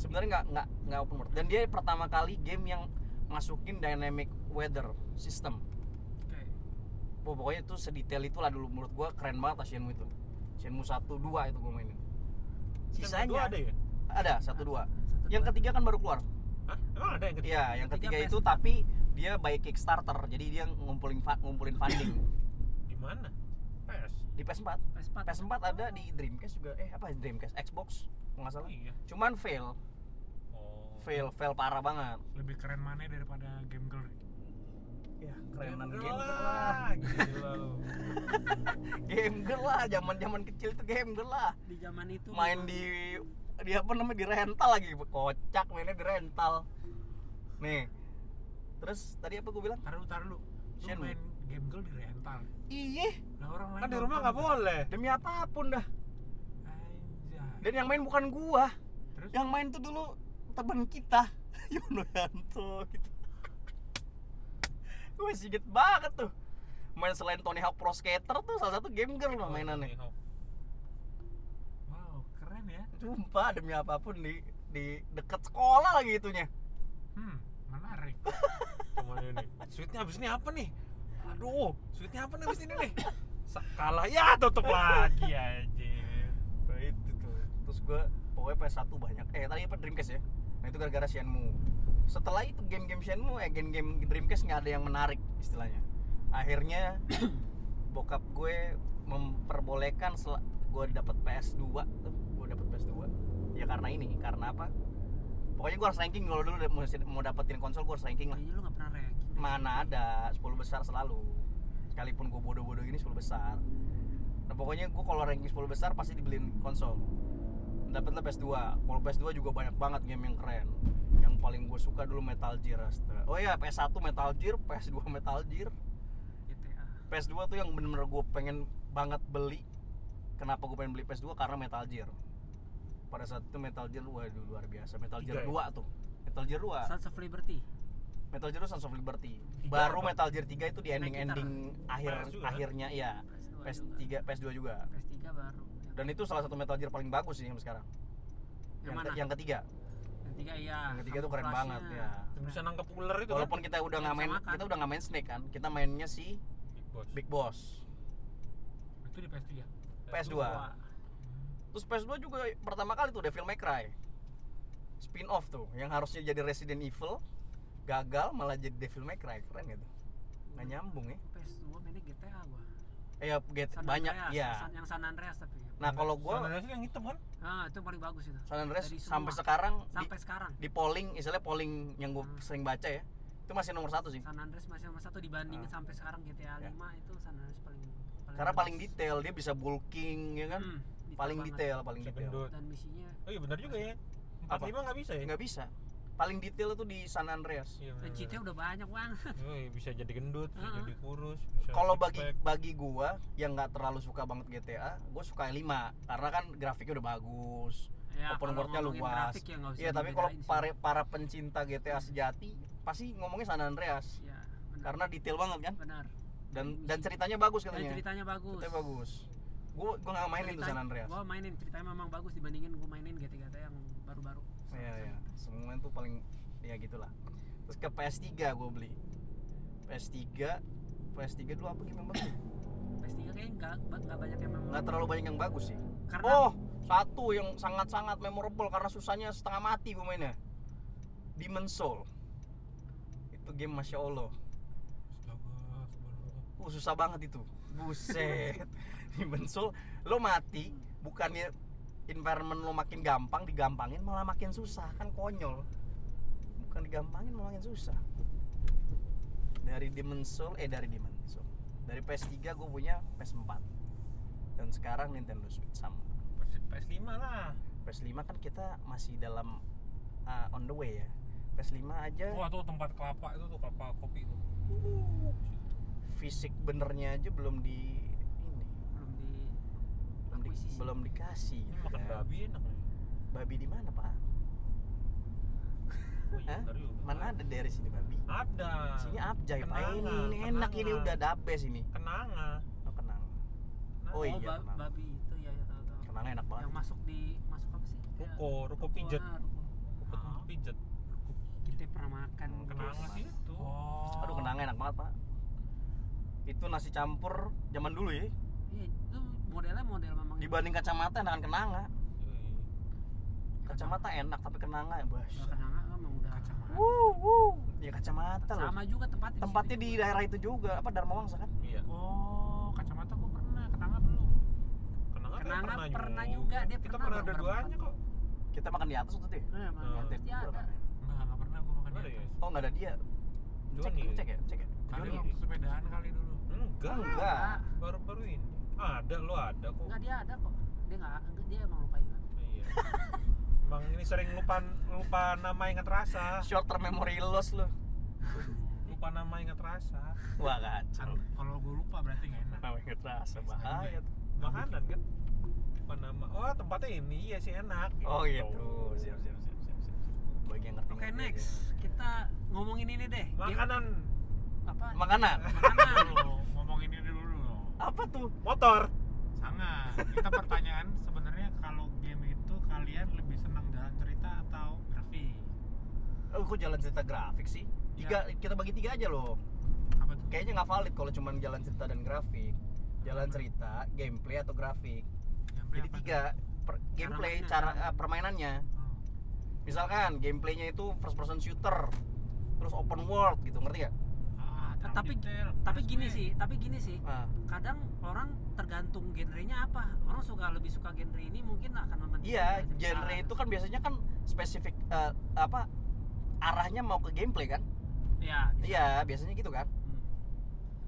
sebenarnya nggak nggak nggak open world dan dia pertama kali game yang masukin dynamic weather system
Oke.
Wah, pokoknya itu sedetail itulah dulu menurut gua keren banget lah Shenmue itu Shenmue 1, 2 itu gua mainin
Yang kedua
sisanya
ada ya?
ada 1, 2
Satu,
yang
dua.
ketiga kan baru keluar
Hah? Emang ada yang ketiga?
iya yang
Ketiga
ketiga itu
PS4.
tapi dia by Kickstarter jadi dia ngumpulin fa- ngumpulin funding
Di mana? PS.
di PS4
PS4.
PS4 ada di Dreamcast juga eh apa Dreamcast Xbox kalau nggak
Oh,
salah
iya.
cuman fail
Oh.
fail fail parah banget
Lebih keren mana daripada game girl?
ya
Game
kerenan
girl
game lah
lah. Gila lu.
game girl lah zaman zaman kecil tuh game girl lah
di zaman itu gitu.
main di di apa namanya di rental lagi kocak mainnya di rental nih terus tadi apa gue bilang
Taruh, taruh lu. Lu
Shenmue.
main game girl di rental.
iya
Lah orang lain
Kan di
nonton
rumah nggak
kan?
boleh.
demi apapun dah
Anjay.
dan yang main bukan gua
Terus
yang main tuh dulu teman kita Yono Yanto gitu gue sigit banget tuh main selain Tony Hawk Pro Skater tuh salah satu game girl loh
Iya.
mainannya
Tony Hawk.
wow, keren ya.
Sumpah demi apapun di di deket sekolah lagi itunya
Hmm, menarik.
Cuman ini. Sweetnya abis ini apa nih? Aduh, sweetnya apa nih abis ini nih? Sa- Kalah ya tutup lagi aja.
Nah, itu tuh. Terus gue pokoknya PS1 banyak. Eh tadi apa Dreamcast ya? Nah itu gara-gara Shenmue. Setelah itu game-game Shenmue, eh game-game Dreamcast nggak ada yang menarik istilahnya. Akhirnya bokap gue memperbolehkan sel- gue dapet PS2 tuh, gue dapet PS2. Ya karena ini, karena apa? Pokoknya gue harus ranking kalau dulu da- mau, mau dapetin konsol gue harus ranking lah.
kayaknya lu nggak pernah gitu, ranking deh.
Mana ada 10 besar selalu. Sekalipun gue bodoh-bodoh gini 10 besar. Nah pokoknya gue kalau ranking 10 besar pasti dibeliin konsol Dapatlah PS2 Kalau PS2 juga banyak banget game yang keren Yang paling gue suka dulu Metal Gear Astra. Oh iya PS1 Metal Gear, PS2 Metal Gear
GTA
PS2 tuh yang bener-bener gue pengen banget beli Kenapa gue pengen beli PS2? Karena Metal Gear Pada saat itu Metal Gear, waduh luar biasa Metal Gear
Tiga ya?
2 tuh Metal Gear 2
Sons of Liberty
Metal Gear Sons of Liberty
Tiga
Baru
apa?
Metal Gear 3 itu di
Snake
ending-ending akhir
PS2 kan?
akhirnya ya
PS2
PS3,
juga.
PS2 juga
PS3 baru yang,
dan itu salah satu Metal Gear paling bagus sih sampai sekarang
yang
yang,
mana?
ke- yang ketiga
yang ketiga iya Nah,
yang ketiga tuh keren banget ya
Bisa nangkep ular itu
walaupun kita udah
kan Yang
nggak main
disamakan.
kita udah nggak main Snake kan kita mainnya si
kan?
Big
Big Boss.
Boss
Itu di PS3.
PS2 terus PS2 juga pertama kali tuh Devil May Cry spin off tuh yang harusnya jadi Resident Evil gagal malah jadi Devil May Cry keren gitu nggak nyambung ya
PS2 mainnya GTA gua
eh ya, get-
San
banyak
Andreas,
ya
San- yang San Andreas tapi
nah kalau
San
gua
Andreas yang hitam kan?
ah itu yang paling bagus itu
San Andreas
Dari semua.
sampai sekarang di,
sampai sekarang
di polling misalnya polling yang gue
Hmm.
sering baca ya itu masih nomor satu sih
San Andreas masih nomor satu dibandingin sampai sekarang GTA 5 itu San Andreas paling, paling
Ah. Iya. karena paling
bagus.
detail dia bisa bulking ya kan
Hmm,
paling
banget.
detail paling
Bisa
detail
gendut.
dan misinya
Oh iya benar juga ya.
Apa?
45 nggak bisa ya?
nggak bisa paling detail itu di San Andreas
Iya, bener-bener.
Pencitnya udah banyak bang.
Yoi, bisa jadi gendut, bisa
Heeh.
jadi kurus, bisa
kalau
six
bagi
pack.
bagi gua yang nggak terlalu suka banget GTA gue suka 5 karena kan grafiknya udah bagus
Ya,
open
kalau
worldnya
ngomongin
luas
grafik ya nggak usah
iya tapi kalau
dibedain sih.
para para pencinta GTA sejati pasti ngomongnya San Andreas
Iya, benar.
karena detail banget kan
benar.
dan dan ceritanya bagus
Dan
katanya
ceritanya bagus.
ceritanya bagus gue gue nggak mainin tuh San Andreas
Gue mainin ceritanya memang bagus dibandingin gue mainin GTA yang baru-baru.
iya iya semua itu paling ya gitulah terus ke PS3 gue beli PS3 PS3 dulu apa game yang bagus
PS3 kayaknya nggak nggak banyak yang memang.
nggak terlalu banyak yang bagus sih
Karena
oh satu yang sangat-sangat memorable karena susahnya setengah mati gue mainnya Demon Soul itu game masya Allah
Astaga, subhanallah.
Uh, susah banget itu buset Demon Soul lo mati bukannya environment lo makin gampang digampangin malah makin susah kan konyol bukan digampangin malah makin susah dari Demon Soul eh dari Demon Soul dari PS3 gue punya PS4 dan sekarang Nintendo Switch sama
PS- PS5 lah.
PS5 kan kita masih dalam uh, on the way ya. PS5 aja
Wah tuh tempat kelapa itu tuh kelapa kopi tuh.
fisik benernya aja belum di ini,
belum di
belum, di,
akuisisi.
belum dikasih.
Ini
gitu
makan
kan.
babi enak nih.
Babi di mana, Pak?
Oh iya,
Hah?
bentar yuk.
Mana ada dari sini babi?
Ada.
Sini abjay, Pak.
Kenangan,
Ini, ini enak ini
kenangan.
udah dabes ini.
Kenanga.
Oh, kenang. Oh iya,
ba-
kenang.
babi itu ya ya tahu tahu.
Kenang enak banget.
Yang masuk di masuk apa sih? Kayak
Ruko, ruko pijet.
ah, ruko.
Ruko tempat pijet.
Kita pernah makan.
Hmm,
Bos.
Kenanga sih itu.
Oh.
Aduh, kenang enak banget, Pak. Itu nasi campur zaman dulu ya.
Iya, itu modelnya model memang.
Dibanding kacamata enakan kenanga.
Yoi.
Kacamata enak tapi kenanga ya, Bos.
Kalau Kenanga kan memang udah.
Kacamata.
Wuh, wuh. Ya kacamata loh.
Sama juga tempatnya.
tempatnya di
situ.
daerah itu juga apa Dharma Wangsa kan
Iya.
Oh, kacamata gua pernah, ketanga belum.
Kenanga, kan
Kenanga
pernah,
pernah
juga.
juga, dia
Kita
pernah
pernah
dong,
ada
pernah
duanya kok.
kita makan di atas waktu itu ya?
Eh, emang
Eh,
di atas dia ada.
Enggak, enggak pernah gua makan
Ada
di
ya?
atas.
oh nggak ada dia cek
Joni.
cek ya cek ya
Kali
Joni ya?
waktu sepedaan kali dulu.
Enggak.
enggak
Baru-baru ini. Ada lo ada kok.
Enggak dia ada kok. Dia enggak dia emang lupa ingat.
Iya. Emang ini sering lupa lupa nama ingat rasa.
short term memory loss lu
Lupa nama ingat rasa.
wah kacau
Kan, Kalau gua lupa berarti enggak enak.
namanya nggak terasa bahaya tuh.
Makanan kan. Lupa nama. Oh, tempatnya ini iya sih enak.
oh gitu siap siap siap siap siap bagi yang ngerti
Oke,
ngerti
next. Kita ngomongin ini deh. Game-
Makanan
apa?
aja. makanan
Makanan.
Dulu, ngomongin ini dulu dong.
apa tuh
motor.
Sangat. Kita pertanyaan sebenarnya kalau game itu kalian lebih senang jalan cerita atau grafik?
oh kok jalan cerita grafik sih tiga kita bagi tiga aja loh
Apa tuh?
kayaknya nggak valid kalau cuma jalan cerita dan grafik jalan cerita gameplay atau grafik
Gameplay
jadi
apa tuh?
tiga per- gameplay
mainnya.
cara eh, permainannya
Oh.
misalkan gameplaynya itu first person shooter terus open world gitu ngerti gak?
Ah, terlalu
Tapi-
detail.
Tapi
Mas,
gini
gue.
sih, tapi gini sih.
Nah,
Kadang orang tergantung genrenya apa. Orang suka lebih suka genre ini mungkin akan mementingkan
iya
cerita.
genre itu kan biasanya kan spesifik eh, apa arahnya mau ke gameplay kan?
Iya. bisa.
Iya biasanya gitu kan?
Hmm.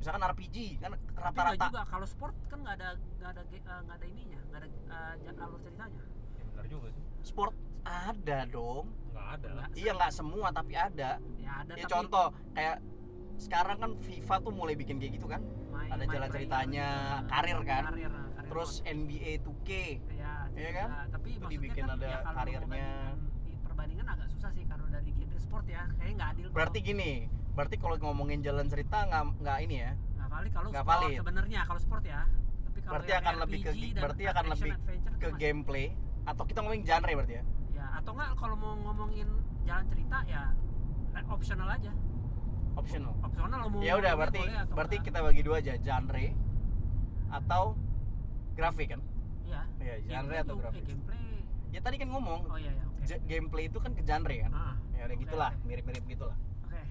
Misalkan RPG kan
Tapi nggak
rata-rata
juga kalau sport kan nggak ada nggak ada ge- eh, nggak ada ininya, nggak ada eh, ja- alur ceritanya.
Iya.
Ya benar juga sih.
sport ada dong.
Enggak ada lah.
Nggak-
Iya nggak semua tapi ada.
Ya ada
Ya
tapi
contoh kayak sekarang kan FIFA tuh mulai bikin kayak gitu kan?
main-
Ada
main
jalan
player
ceritanya,
gitu.
karir kan?
Karir, nah, karir
Terus NBA 2K
Iya,
Iya
juga.
kan?
Tapi
Itu
maksudnya
dibikin
kan
ada
ya kalau
karirnya.
perbandingan- Perbandingan agak susah sih kalau dari genre sport ya, kayaknya nggak adil. kalau-
berarti gini berarti kalau ngomongin jalan cerita nggak nggak ini ya
nggak valid kalau
nggak
sport
valid.
sebenarnya kalau sport ya. Tapi kalau
Berarti
yang
akan
RPG
lebih ke-
dan
berarti akan
action
lebih
adventure
ke
itu masih-
gameplay atau kita ngomongin genre berarti ya
Ya, atau nggak kalau mau ngomongin jalan cerita ya eh, optional aja.
optional
Optional lo mau.
ya udah
ngomongin
berarti
Oh, boleh atau
berarti
nggak.
kita bagi dua aja genre atau grafik kan
Iya.
ya genre
Gameplay
atau
juga- eh,
grafik
Gameplay.
ya tadi kan ngomong
Oh iya ya, oke.
j- gameplay itu kan ke genre kan
Ah,
ya udah
Oke,
gitulah
oke.
mirip-mirip gitulah
oke.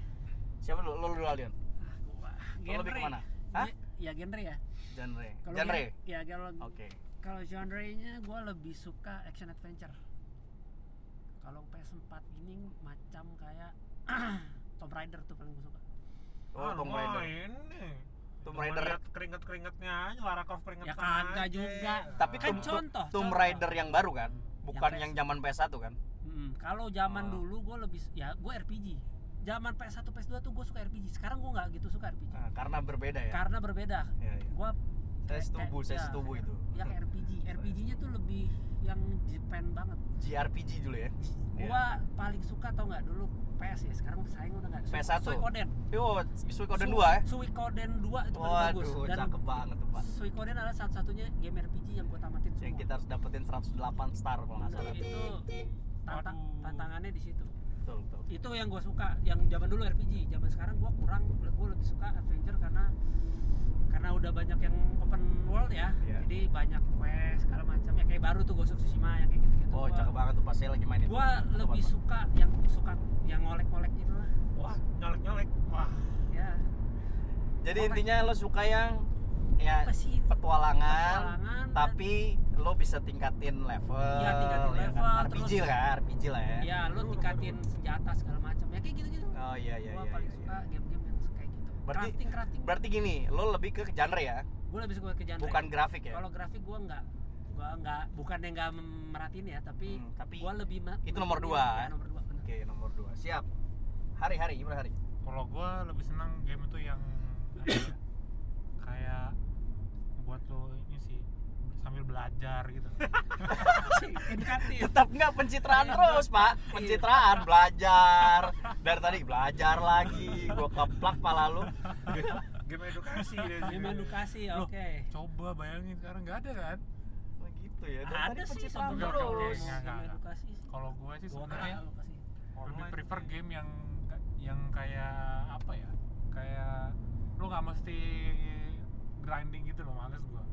siapa lu lu dulu Aldian
Ah, gua-
Lu lebih
Genre.
kemana Hah?
Ge- Ya genre ya.
genre
Kalau
genre
gen- Ya kalau
oke
Kalau genre-nya gue lebih suka action adventure. Kalau PS4 ini macam kayak Tomb Raider tuh paling gue suka.
oh Tomb Raider
Ini.
Tomb Raider
Lihat keringet-keringetnya aja, Lara
Ya
Croft keringetan.
kagak
aja.
juga.
tapi
Kan
Tomb-
contoh.
Tomb
contoh.
Rider yang baru kan bukan
PS.
yang zaman PS1 kan
Mm, Mm, kalau zaman
Ah.
dulu gue lebih ya gue RPG. Zaman PS1 PS2 tuh gue suka RPG. Sekarang gue nggak gitu suka RPG.
Nah, karena berbeda ya.
Karena berbeda. ya
Ya, ya.
Gue
Saya setuju, saya setuju itu.
Yang RPG, RPG-nya tuh lebih yang Jepang banget.
Iya. JRPG dulu ya.
Gue paling suka tau nggak dulu PS ya. Sekarang sayang udah nggak. Su-
PS1.
Suikoden.
Yo, Suikoden
Su-
2 ya.
Suikoden 2 itu paling bagus.
Waduh,
Dan
cakep banget tuh, Pak.
Suikoden adalah satu-satunya game RPG yang gue tamatin semua.
Yang kita harus dapetin 108 star kalau nggak salah.
itu tantang,
Aduh.
tantangannya di situ.
Betul, betul.
itu yang gue suka yang zaman dulu RPG zaman sekarang gue kurang gue lebih suka adventure karena karena udah banyak yang open world ya
Iya.
jadi banyak quest segala macam ya kayak baru tuh Ghost of Tsushima yang kayak gitu gitu
Oh, cakep banget tuh pas saya lagi main itu.
gue
Cakep
lebih
banget.
suka yang suka yang ngolek-ngolek gitu lah
wah nyolek nyolek wah
ya
Jadi intinya lo suka yang ya
apa sih
petualangan,
petualangan,
tapi lo bisa tingkatin level.
Iya,
ya
tingkatin
kan?
level,
RPG
terus-
lah, RPG lah ya.
ya lu tingkatin senjata segala macam ya kayak gitu-gitu
Oh iya iya
gue
iya.
paling
iya,
suka
iya.
game-game yang kayak gitu
Berarti-
crafting crafting
Berarti gini, lo lebih ke genre ya,
gue lebih suka ke genre
bukan grafik ya.
kalau grafik gue nggak gue nggak bukan yang nggak merhatiin ya tapi
Hmm, tapi
gua lebih ma-
itu nomor
mentingin-
dua. kan?
ya, nomor dua bener.
Oke, nomor 2. Siap. Hari-hari gimana hari?
kalau gue lebih senang game itu yang apa ya, kayak buat lo ini sih sambil belajar gitu
edukatif
Iya, Tetap nggak pencitraan terus, Pak. Pencitraan, belajar. Dari tadi belajar lagi. Gua keplak pala lu.
game edukasi ya
game edukasi
Loh. Ya,
oke
coba bayangin sekarang nggak ada kan
Nah, gitu ya. Dari
ada
tadi
sih
pencitraan
sebenarnya
Oke, oke,
terus.
enggak,
game
enggak.
edukasi sih
kalau gue sih
Gua
sebenarnya
kenal edukasi.
lebih
Online
prefer
sih.
game yang yang kayak apa ya kayak lo nggak mesti grinding gitu loh males gue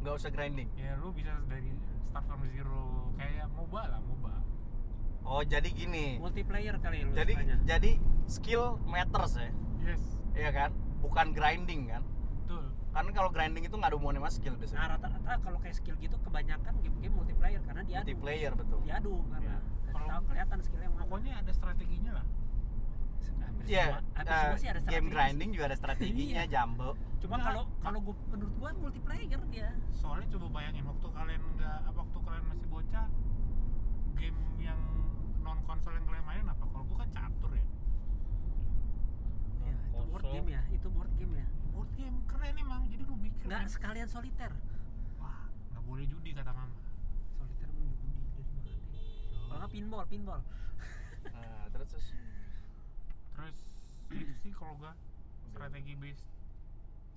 Nggak usah grinding.
ya lu bisa dari start from zero kayak moba lah moba
Oh, jadi gini.
multiplayer kali lu
Jadi
sukanya.
jadi skill matters ya.
yes
Iya kan? Bukan grinding kan?
betul
Karena kalau grinding itu nggak ada hubungannya sama skill
nah
biasanya.
rata-rata kalau kayak skill gitu kebanyakan game-game multiplayer karena
iya.
dia
Multiplayer betul.
diadu karena yeah.
Iya. Kalau-
tahu kelihatan skillnya yang mana
pokoknya ada strateginya lah
hampir
Iya,
semua hampir
eh,
semua sih ada
game
strategi.
grinding juga ada strateginya,
Iya.
Jambo.
cuma
Enggak. Nah,
kalau kalau gua menurut gua multiplayer dia
soalnya coba bayangin waktu kalian nggak apa waktu kalian masih bocah game yang non konsol yang kalian mainin apa kalau bukan catur ya
ya, itu board
Konsol.
game ya itu board game ya
board game keren emang jadi lu bikin
Nah,
nggak sekalian soliter
wah nggak boleh judi kata mama
soliter mau judi dari mana kalau nggak pinball pinball
Nah, terus terus
terus itu sih kalau gua strategi based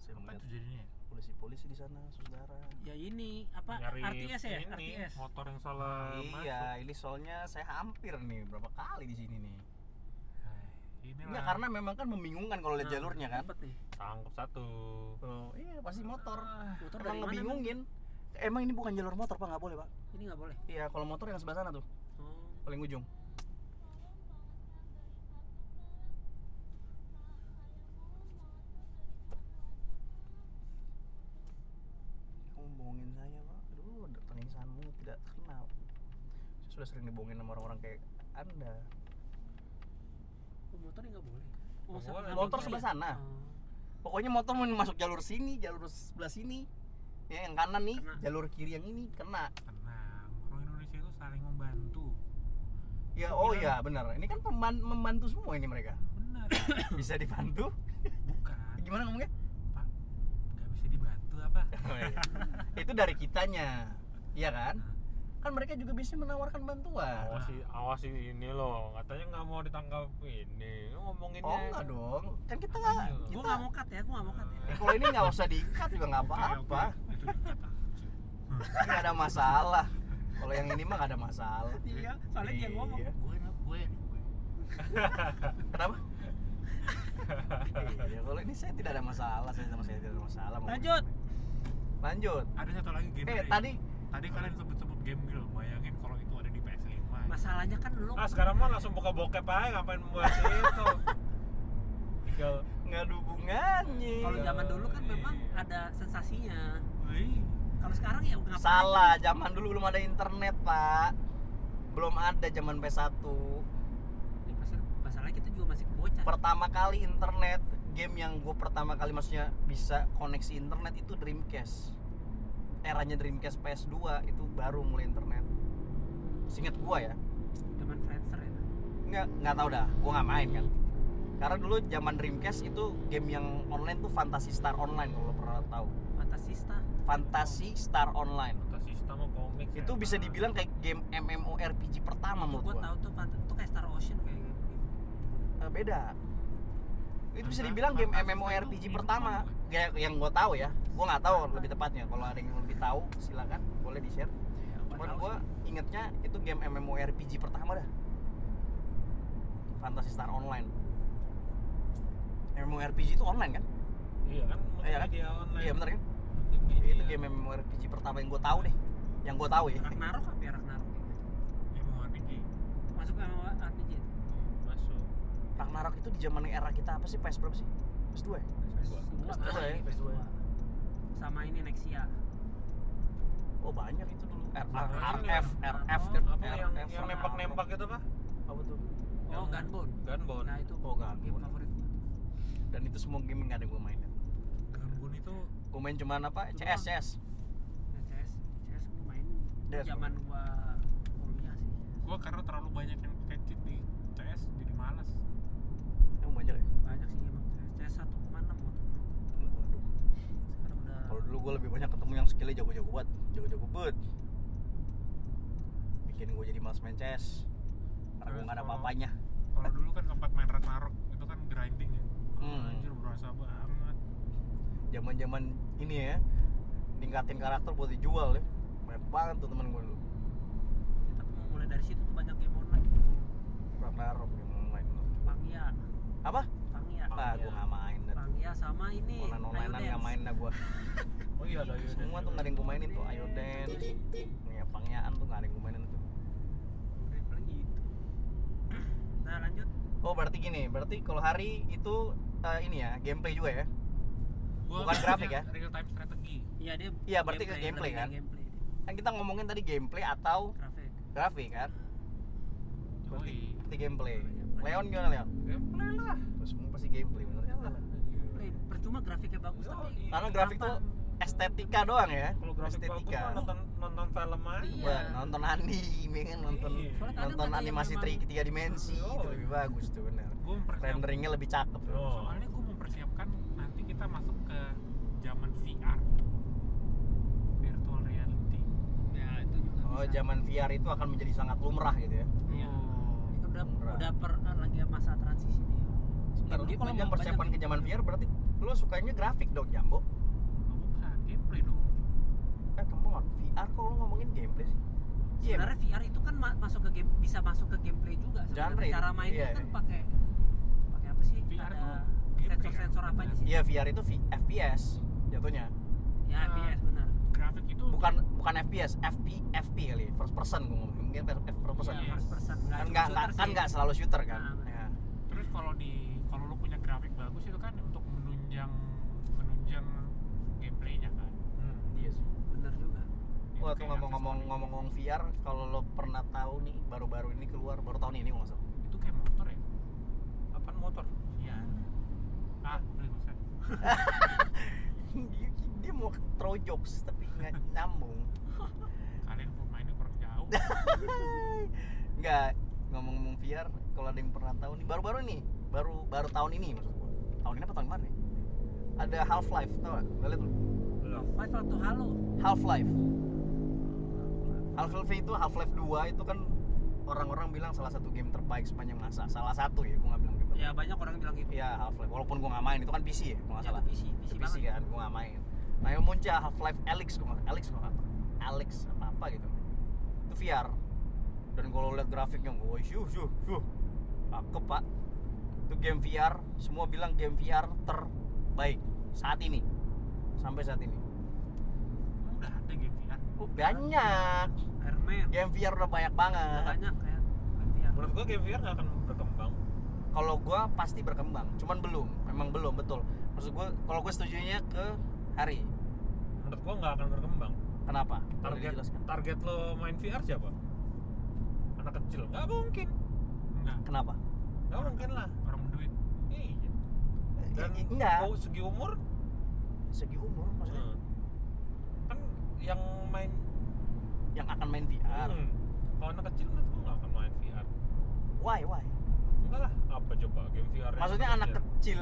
saya
apa
melihat
tuh jadinya ya?
polisi-polisi di sana, saudara.
ya ini apa
Nyari
RTS ya
ini,
RTS
motor yang salah
iya, ini soalnya saya hampir nih berapa kali di sini nih.
ini
Enggak karena memang kan membingungkan kalau lihat jalurnya kan.
dapet nih
tangkap satu
Oh, iya pasti motor.
motor
Emang
dari mana Bang?
ngebingungin. Emang ini bukan jalur motor, Pak, nggak boleh, Pak.
ini nggak boleh
Iya, kalau motor yang sebelah sana tuh,
oh.
paling ujung. Kamu bohongin saya, Pak. Aduh, tangisanmu tidak terkenal. Saya sudah sering dibohongin sama orang-orang kayak Anda.
Oh, motor ini nggak boleh
Nggak
sama-
boleh.
sama
Motor
dia.
sebelah sana.
Oh.
Pokoknya motor mau masuk jalur sini, jalur sebelah sini. Ya, yang kanan nih,
Kena.
jalur kiri yang ini kena.
tenang orang Indonesia itu saling membantu
Ya, oh iya, benar. Ini kan peman- membantu semua ini mereka.
benar
Bisa dibantu?
bukan
Gimana ngomongnya?
pak nggak bisa dibantu apa
Oh, iya. itu dari kitanya iya kan
Ah.
kan mereka juga bisa menawarkan
Oh,
bantuan
awasi awasi ini loh katanya nggak mau ditangkap ini lu ya. ngomonginnya
oh enggak dong kan kita nggak
gua
kita
nggak mau cut ya gua nggak mau cut ya
Eh, kalau ini nggak usah diikat juga nggak apa-apa
Oke, oke. itu dikat ah.
nggak ada masalah kalau yang ini mah nggak ada masalah
iya soalnya dia ngomong
Iya.
gue enak, gue enak, gue
kenapa iya kalau ini saya tidak ada masalah saya sama saya tidak ada masalah mau-
lanjut
lanjut
ada satu lagi game
eh
Ray.
tadi
tadi kalian sebut-sebut game girl bayangin kalau itu ada di PS5
Nah,
masalahnya kan lu
ah sekarang mah langsung buka bokep aja ngapain buat itu tinggal
nggak ada hubungannya
kalau zaman dulu kan
Iya.
memang ada sensasinya
Wih,
kalau sekarang ya udah ngapain
salah zaman dulu belum ada internet pak belum ada zaman PS1
Ya, pasal- masalahnya kita juga masih bocah
pertama kali internet game yang gue pertama kali maksudnya bisa koneksi internet itu Dreamcast eranya Dreamcast PS2 itu baru mulai internet Singkat gua ya.
zaman Friendster ya
Nggak nggak tahu dah, gua nggak main kan. Karena dulu zaman Dreamcast itu game yang online tuh Fantasy Star Online kalau lo pernah tahu.
Fantasista
Fantasy Star Online.
Fantasista mah komik ya.
Itu bisa dibilang kayak game MMORPG pertama
Tuh,
menurut
gua
gua.
tahu tuh fant- itu kayak Star Ocean kayak gitu
Eh, beda. Itu bisa
Fanta-
dibilang game
Fantasy Star
MMORPG
tuh game
pertama.
apa?
Ya, yang gua tahu ya. Gua nggak tahu lebih tepatnya. Kalau ada yang lebih tahu silakan boleh di-share.
Ya, gua
Cuman
tahu
gue ingetnya itu game MMORPG pertama dah Fantasy Star Online MMORPG itu online kan?
Iya kan?
Iya kan?
Multimedia online. Iya.
Iya bener kan?
Multimedia.
Itu game MMORPG pertama yang gue tahu deh Yang gue tahu
sih.
ya
Ragnarok apa ya Ragnarok
MMORPG
masuk ke RPG itu
masuk.
Ragnarok itu di zaman era kita apa sih? PS berapa sih? PS2 ya?
Dua,
PS2 ya,
dua.
PS2.
sama ini Nexia
Oh banyak itu dulu R-
Sama
R-
ini,
RF RF kan?
Apa yang
RF.
yang nembak-nembak itu apa?
Apa tuh?
oh
Yang-
Gunbone
Gunbone.
nah itu
Oh, Gunbone.
game favorit gua.
Dan itu semua game yang gak ada gue mainin
Gunbone itu
Gue main cuman apa?
Itu
CS,
doang.
CS
Nah, CS CS gua main itu
Yes.
zaman gua kuliah sih
gua karena terlalu banyak yang pakai cheat di CS jadi malas
Emang banyak ya?
banyak sih emang CS CS 1,6 waktu itu.
Waduh.
sekarang udah
Kalau dulu gue lebih banyak ketemu yang skillnya jago-jago buat, jago-jago buat. Bikin gue jadi mas main CS. Karena gue nggak ada apa-apanya.
kalau dulu kan sempat main Ragnarok itu kan grinding ya
Hmm.
anjir berasa banget
Zaman-zaman ini ya, ningkatin karakter buat dijual ya. Banyak banget tuh teman gue dulu.
kita mau mulai dari situ tuh banyak game online
Ragnarok yang main.
Pangia
Apa?
Pangia
Ah, gue nggak main. dah.
Pangia sama ini
Online-onlinean
Ayo
nggak
Dance.
main dah gue.
Oh iya ada Yuden.
Semua tuh nggak ada yang gue mainin tuh. Ayo dance. Ya, pangyaan tuh nggak ada yang gue mainin tuh.
Udah paling gitu nah lanjut
Oh berarti gini, berarti kalau hari itu eh, ini ya gameplay juga ya?
Gua
Bukan grafik ya?
mainnya real time strategi
iya dia
Iya, berarti ke gameplay,
lebih
kan?
ke gameplay dia.
Kan kita ngomongin tadi gameplay atau
grafik
grafik kan?
Yoi.
Berarti gameplay. Leon gimana Leon?
Gameplay lah.
Terus semua pasti gameplay bener.
Iyalah.
Play. percuma grafiknya bagus
Yo,
tapi
iya.
Karena grafik
gampang.
tuh estetika doang ya.
Kalau grafik bagus
estetika.
mah nonton nonton film aja.
Iya.
Wah, nonton anime kan nonton
Iya.
Soalnya kadang
nonton
ada yang
animasi
memang-
tri, tiga dimensi
Yo,
itu lebih
iya. Oh,
bagus tuh bener.
gua mempersiapkan
Renderingnya lebih cakep.
Yo.
Bro.
soalnya gua mempersiapkan nanti kita masuk ke zaman VR virtual reality
ya itu juga
Oh,
bisa.
zaman VR itu akan menjadi sangat lumrah gitu ya.
Iya.
Oh.
Ini udah
Murah.
udah per lagi ya, masa transisi nih
Sebentar, lu
Game
kalau
banyak-
mempersiapkan ke
banyak
zaman
game.
VR berarti lu sukanya grafik dong, Jambo.
Oh, bukan gameplay dong
Eh, come on. VR kok lu ngomongin gameplay sih? Iya.
sebenarnya VR itu kan ma- masuk ke game bisa masuk ke gameplay juga sebenarnya.
Genre itu.
cara mainnya
Iya,
kan
iya.
pakai pakai apa sih ada
VR tuh gameplay kan?
sensor-sensor apanya sih
Iya, VR itu V- FPS jatuhnya.
ya
Ah.
FPS benar
grafik itu
Bukan bukan FPS, FP FP kali, first person gua ngomong. Mungkin eh, first person.
Iya.
first person Ya,
kan
nggak cuma
nggak nggak-
shooter
kan
sih.
nggak selalu shooter kan
Nah, benar.
ya.
terus kalau di kalau lu punya grafik bagus itu kan untuk menunjang menunjang gameplaynya kan
Hmm.
iya sih
benar juga
Itu
Wah,
kayak
tuh ngomong-ngomong
aksesoris.
ngomong-ngomong VR, kalau lo pernah tahu nih baru-baru ini keluar baru tahun ini nggak salah.
itu kayak motor ya
Apaan motor?
iya ah beli maksudnya
dia, dia mau throw jokes tapi nggak nyambung.
kalian pun mainnya kurang jauh
Nggak ngomong-ngomong VR, kalau ada yang pernah tahu nih baru-baru ini, baru baru tahun ini maksud gua. Tahun ini apa tahun kemarin? ya? Ada Half Life tau gak? Lo liat belum?
Belum.
Five atau Halo
Half Life. Half Life itu Half Life 2 itu kan orang-orang bilang salah satu game terbaik sepanjang masa. Salah satu ya, gua nggak bilang game terbaik.
ya banyak orang bilang gitu
Iya Half Life. Walaupun gua nggak main itu kan PC ya, gua nggak
Ya,
salah.
itu PC PC,
Itu PC
banget
kan, gua nggak main. Nah yang muncul Half Life Alex gua nggak- Alex gua nggak- Alex apa apa gitu. Itu VR. Dan kalau lihat grafiknya, wah yuh yuh yuh, cakep pak. Itu game VR, semua bilang game VR terbaik saat ini, sampai saat ini.
Emang udah ada game VR
Oh, banyak
Iron Man
game VR udah banyak
udah
banget.
banyak ya Berarti ya.
Menurut gua game VR nggak akan berkembang.
kalau gua pasti berkembang cuman belum memang belum betul maksud gua kalau gue setujunya ke hari
Menurut gua nggak akan berkembang.
kenapa Boleh
Target
dijelaskan
target lo main VR siapa? Anak kecil? Nggak mungkin.
enggak
kenapa
Nggak mungkin lah.
orang berduit
Iya. Dan
Eh, enggak
mau segi umur
segi umur maksudnya
hmm. kan yang main
yang akan main VR
Hmm. kalau anak kecil menurut gua nggak akan main VR Hmm.
why why
enggak lah apa coba game VR yang
maksudnya anak kecil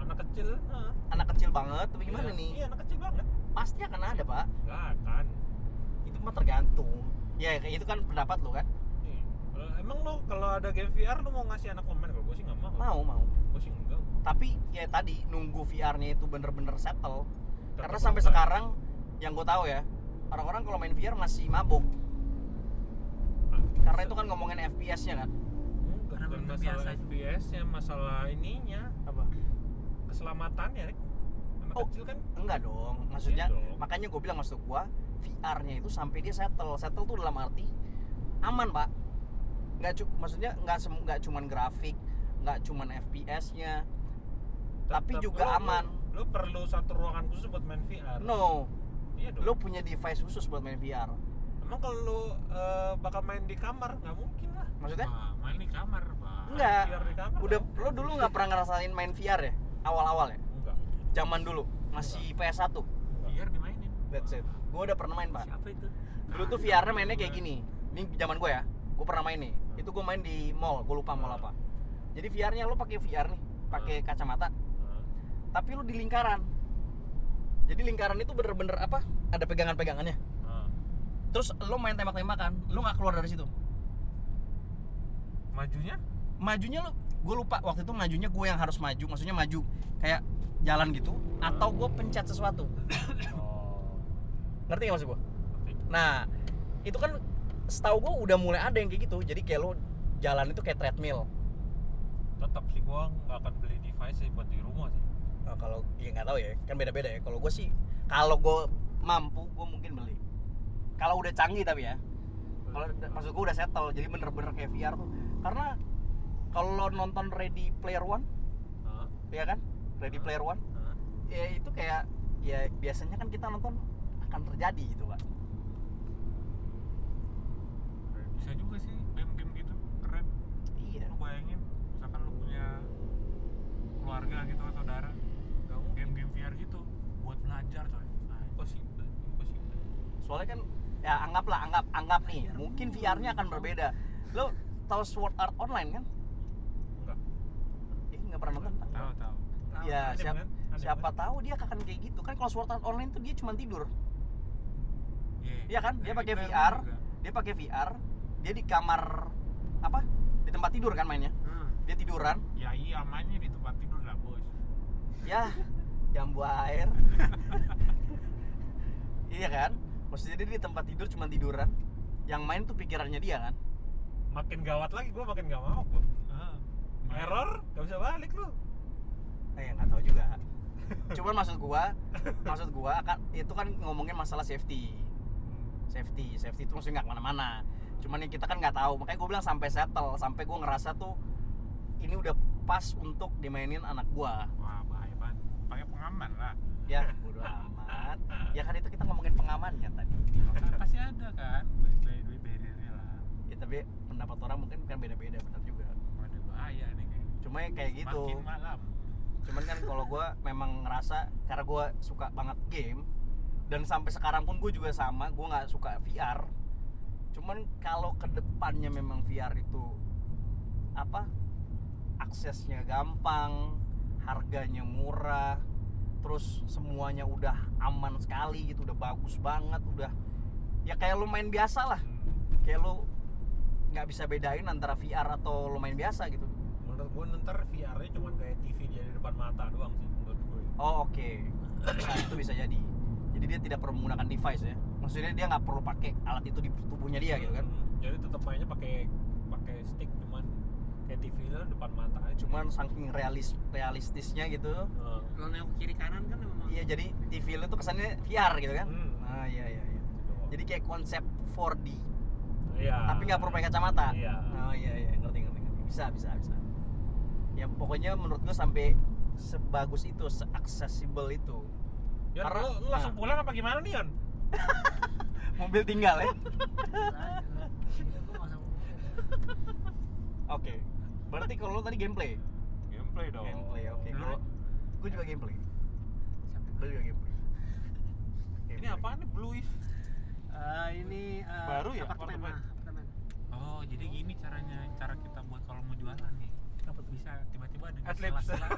anak kecil ah.
anak kecil banget tapi gimana
Iya,
nih
iya anak kecil banget Kan.
pasti akan ada pak
nggak akan
itu mah tergantung ya kayak itu kan pendapat lo kan
Nih, kalau- emang lo kalau ada game VR lo mau ngasih anak lo main kalau gue sih nggak mau
mau mau
gue sih enggak
tapi ya tadi nunggu VR-nya itu bener-bener settle karena
Tetep
sampai
enggak.
sekarang yang gue tahu ya orang-orang kalau main VR masih mabuk
Ah,
karena
se-
itu kan ngomongin FPS-nya kan
Enggak,
Karena
bukan
belum
masalah
terbiasa juga.
FPS nya ya, masalah ininya
apa
keselamatannya Rick. anak
Oh,
kecil kan
enggak dong maksudnya
Iya dong.
makanya gue bilang maksud gue VR-nya itu sampai dia settle settle tuh dalam arti aman pak nggak cu- maksudnya nggak sem- nggak cuman grafik nggak cuman FPS-nya tapi
tetep-
juga
lo- lo-
aman.
lo, perlu satu ruangan khusus buat main VR
no
iya dong
lo punya device khusus buat main VR
emang kalau lo eh, bakal main di kamar nggak mungkin lah
maksudnya
Wah, main di kamar pak
Enggak.
VR di kamar
udah lo dulu nggak pernah ngerasain main VR ya awal-awal ya
enggak
zaman dulu masih PS1
Iya.
biar dimainin
that's it gue udah pernah main pak
siapa itu
dulu tuh VR-nya mainnya kayak gini ini zaman gue ya gue pernah main nih itu gue main di mall gue lupa mall apa jadi VR-nya lo pakai VR nih pakai kacamata
Hah?
tapi lo di lingkaran jadi lingkaran itu bener-bener apa ada pegangan-pegangannya
Hah.
terus lo main tembak-tembakan lo nggak keluar dari situ
majunya
majunya lo gue lupa waktu itu majunya gue yang harus maju maksudnya maju kayak jalan gitu atau gue pencet sesuatu
oh
ngerti gak maksud gue
ngerti.
Nah, itu kan setahu gue udah mulai ada yang kayak gitu. Jadi kayak lo jalan itu kayak treadmill.
tetap sih gua nggak akan beli device sih buat di rumah sih
Nah, kalau ya nggak tahu ya, kan beda-beda ya. Kalau gue sih, kalau gue mampu, gue mungkin beli. Kalau udah canggih tapi ya. Kalau udah- maksud gue udah settle, jadi bener-bener kayak VR tuh. Karena kalau lo nonton Ready Player One,
Hah?
ya kan? Ready Player One,
Hah?
ya itu kayak ya biasanya kan kita nonton akan terjadi gitu pak.
bisa juga sih game-game gitu keren
Iya.
lu bayangin misalkan lu punya keluarga gitu saudara
nggak mungkin
game-game VR gitu buat belajar coy nah,
impossible impossible
soalnya kan ya anggaplah anggap anggap nih mungkin VR-nya akan berbeda lo tahu Sword Art Online kan
enggak
ih nggak pernah nonton Pak.
tahu tahu
ya
Aneh
siapa
banget, aneh
siapa
banget.
tahu dia akan kayak gitu kan kalau Sword Art Online tuh dia cuma tidur Iya kan? Dia
Dari
pakai
kita
VR.
Nah, juga.
dia pakai VR dia di kamar apa di tempat tidur kan mainnya
Hmm.
dia tiduran
ya iya mainnya di tempat tidur lah bos
ya jambu air iya kan maksudnya dia di tempat tidur cuma tiduran yang main tuh pikirannya dia kan
makin gawat lagi gua makin nggak mau gua
Ah.
error nggak bisa balik lu
Eh, nggak tahu juga. Cuman maksud gua, maksud gua akan itu kan ngomongin masalah safety. Safety, safety itu maksudnya nggak kemana-mana. Cuman yang kita kan nggak tahu. Makanya gua bilang sampai settle, sampai gua ngerasa tuh ini udah pas untuk dimainin anak gua.
wah bahaya banget pakai pengaman lah
Ya, bodo amat. Ya kan itu kita ngomongin pengamannya tadi.
Kan pasti ada kan by barrier-nya lah
Ya, tapi pendapat orang mungkin kan beda-beda benar juga.
ada bahaya nih kayak
Cuma ya kayak gitu.
makin malam
Cuman kan kalau gua memang ngerasa karena gua suka banget game dan sampai sekarang pun gue juga sama, gua nggak suka VR. Cuman kalau kedepannya memang VR itu apa aksesnya gampang, harganya murah, terus semuanya udah aman sekali gitu, udah bagus banget, udah ya kayak lu main biasa lah, kayak lu nggak bisa bedain antara VR atau lu main biasa gitu.
menurut gue ntar VR-nya cuma kayak TV dia di depan mata doang sih menurut gue
Oh oke, Bisa, itu bisa jadi. Jadi dia tidak perlu menggunakan device ya. Maksudnya dia nggak perlu pakai alat itu di tubuhnya dia gitu kan.
Hmm, jadi tetap mainnya pakai pakai stick cuman kayak TV lah depan mata aja
Cuman saking realis realistisnya gitu.
Eh,
kalau nengok kiri kanan kan memang
Iya jadi TV lu tuh kesannya VR gitu kan.
hmm,
Nah iya iya. iya.
gitu doang.
Jadi kayak konsep 4D
Iya.
tapi nggak perlu pakai kacamata.
Iya.
Oh iya iya ngerti ngerti ngerti. Bisa bisa bisa. Ya pokoknya menurut gue sampai sebagus itu, seaksesibel itu.
Yon,
Karena-
lu, lu langsung
nah.
pulang apa gimana nih Yon?
Mobil tinggal ya.
Iya, gua nggak sama.
Oke. Berarti kalau lu tadi gameplay.
Gameplay dong.
Gameplay oke.
Dulu.
Kalau gue juga gameplay.
Siapa?
Gue juga gameplay.
Ini apaan nih Blue If?
Eh, ini eh,
Baru ya,
apartemen, ah,
apartemen?
ya? apartemen.
Oh, jadi gini caranya, cara kita buat kalau mau jualan nih. Kita bisa tiba-tiba ada
Adlibs.
sela-sela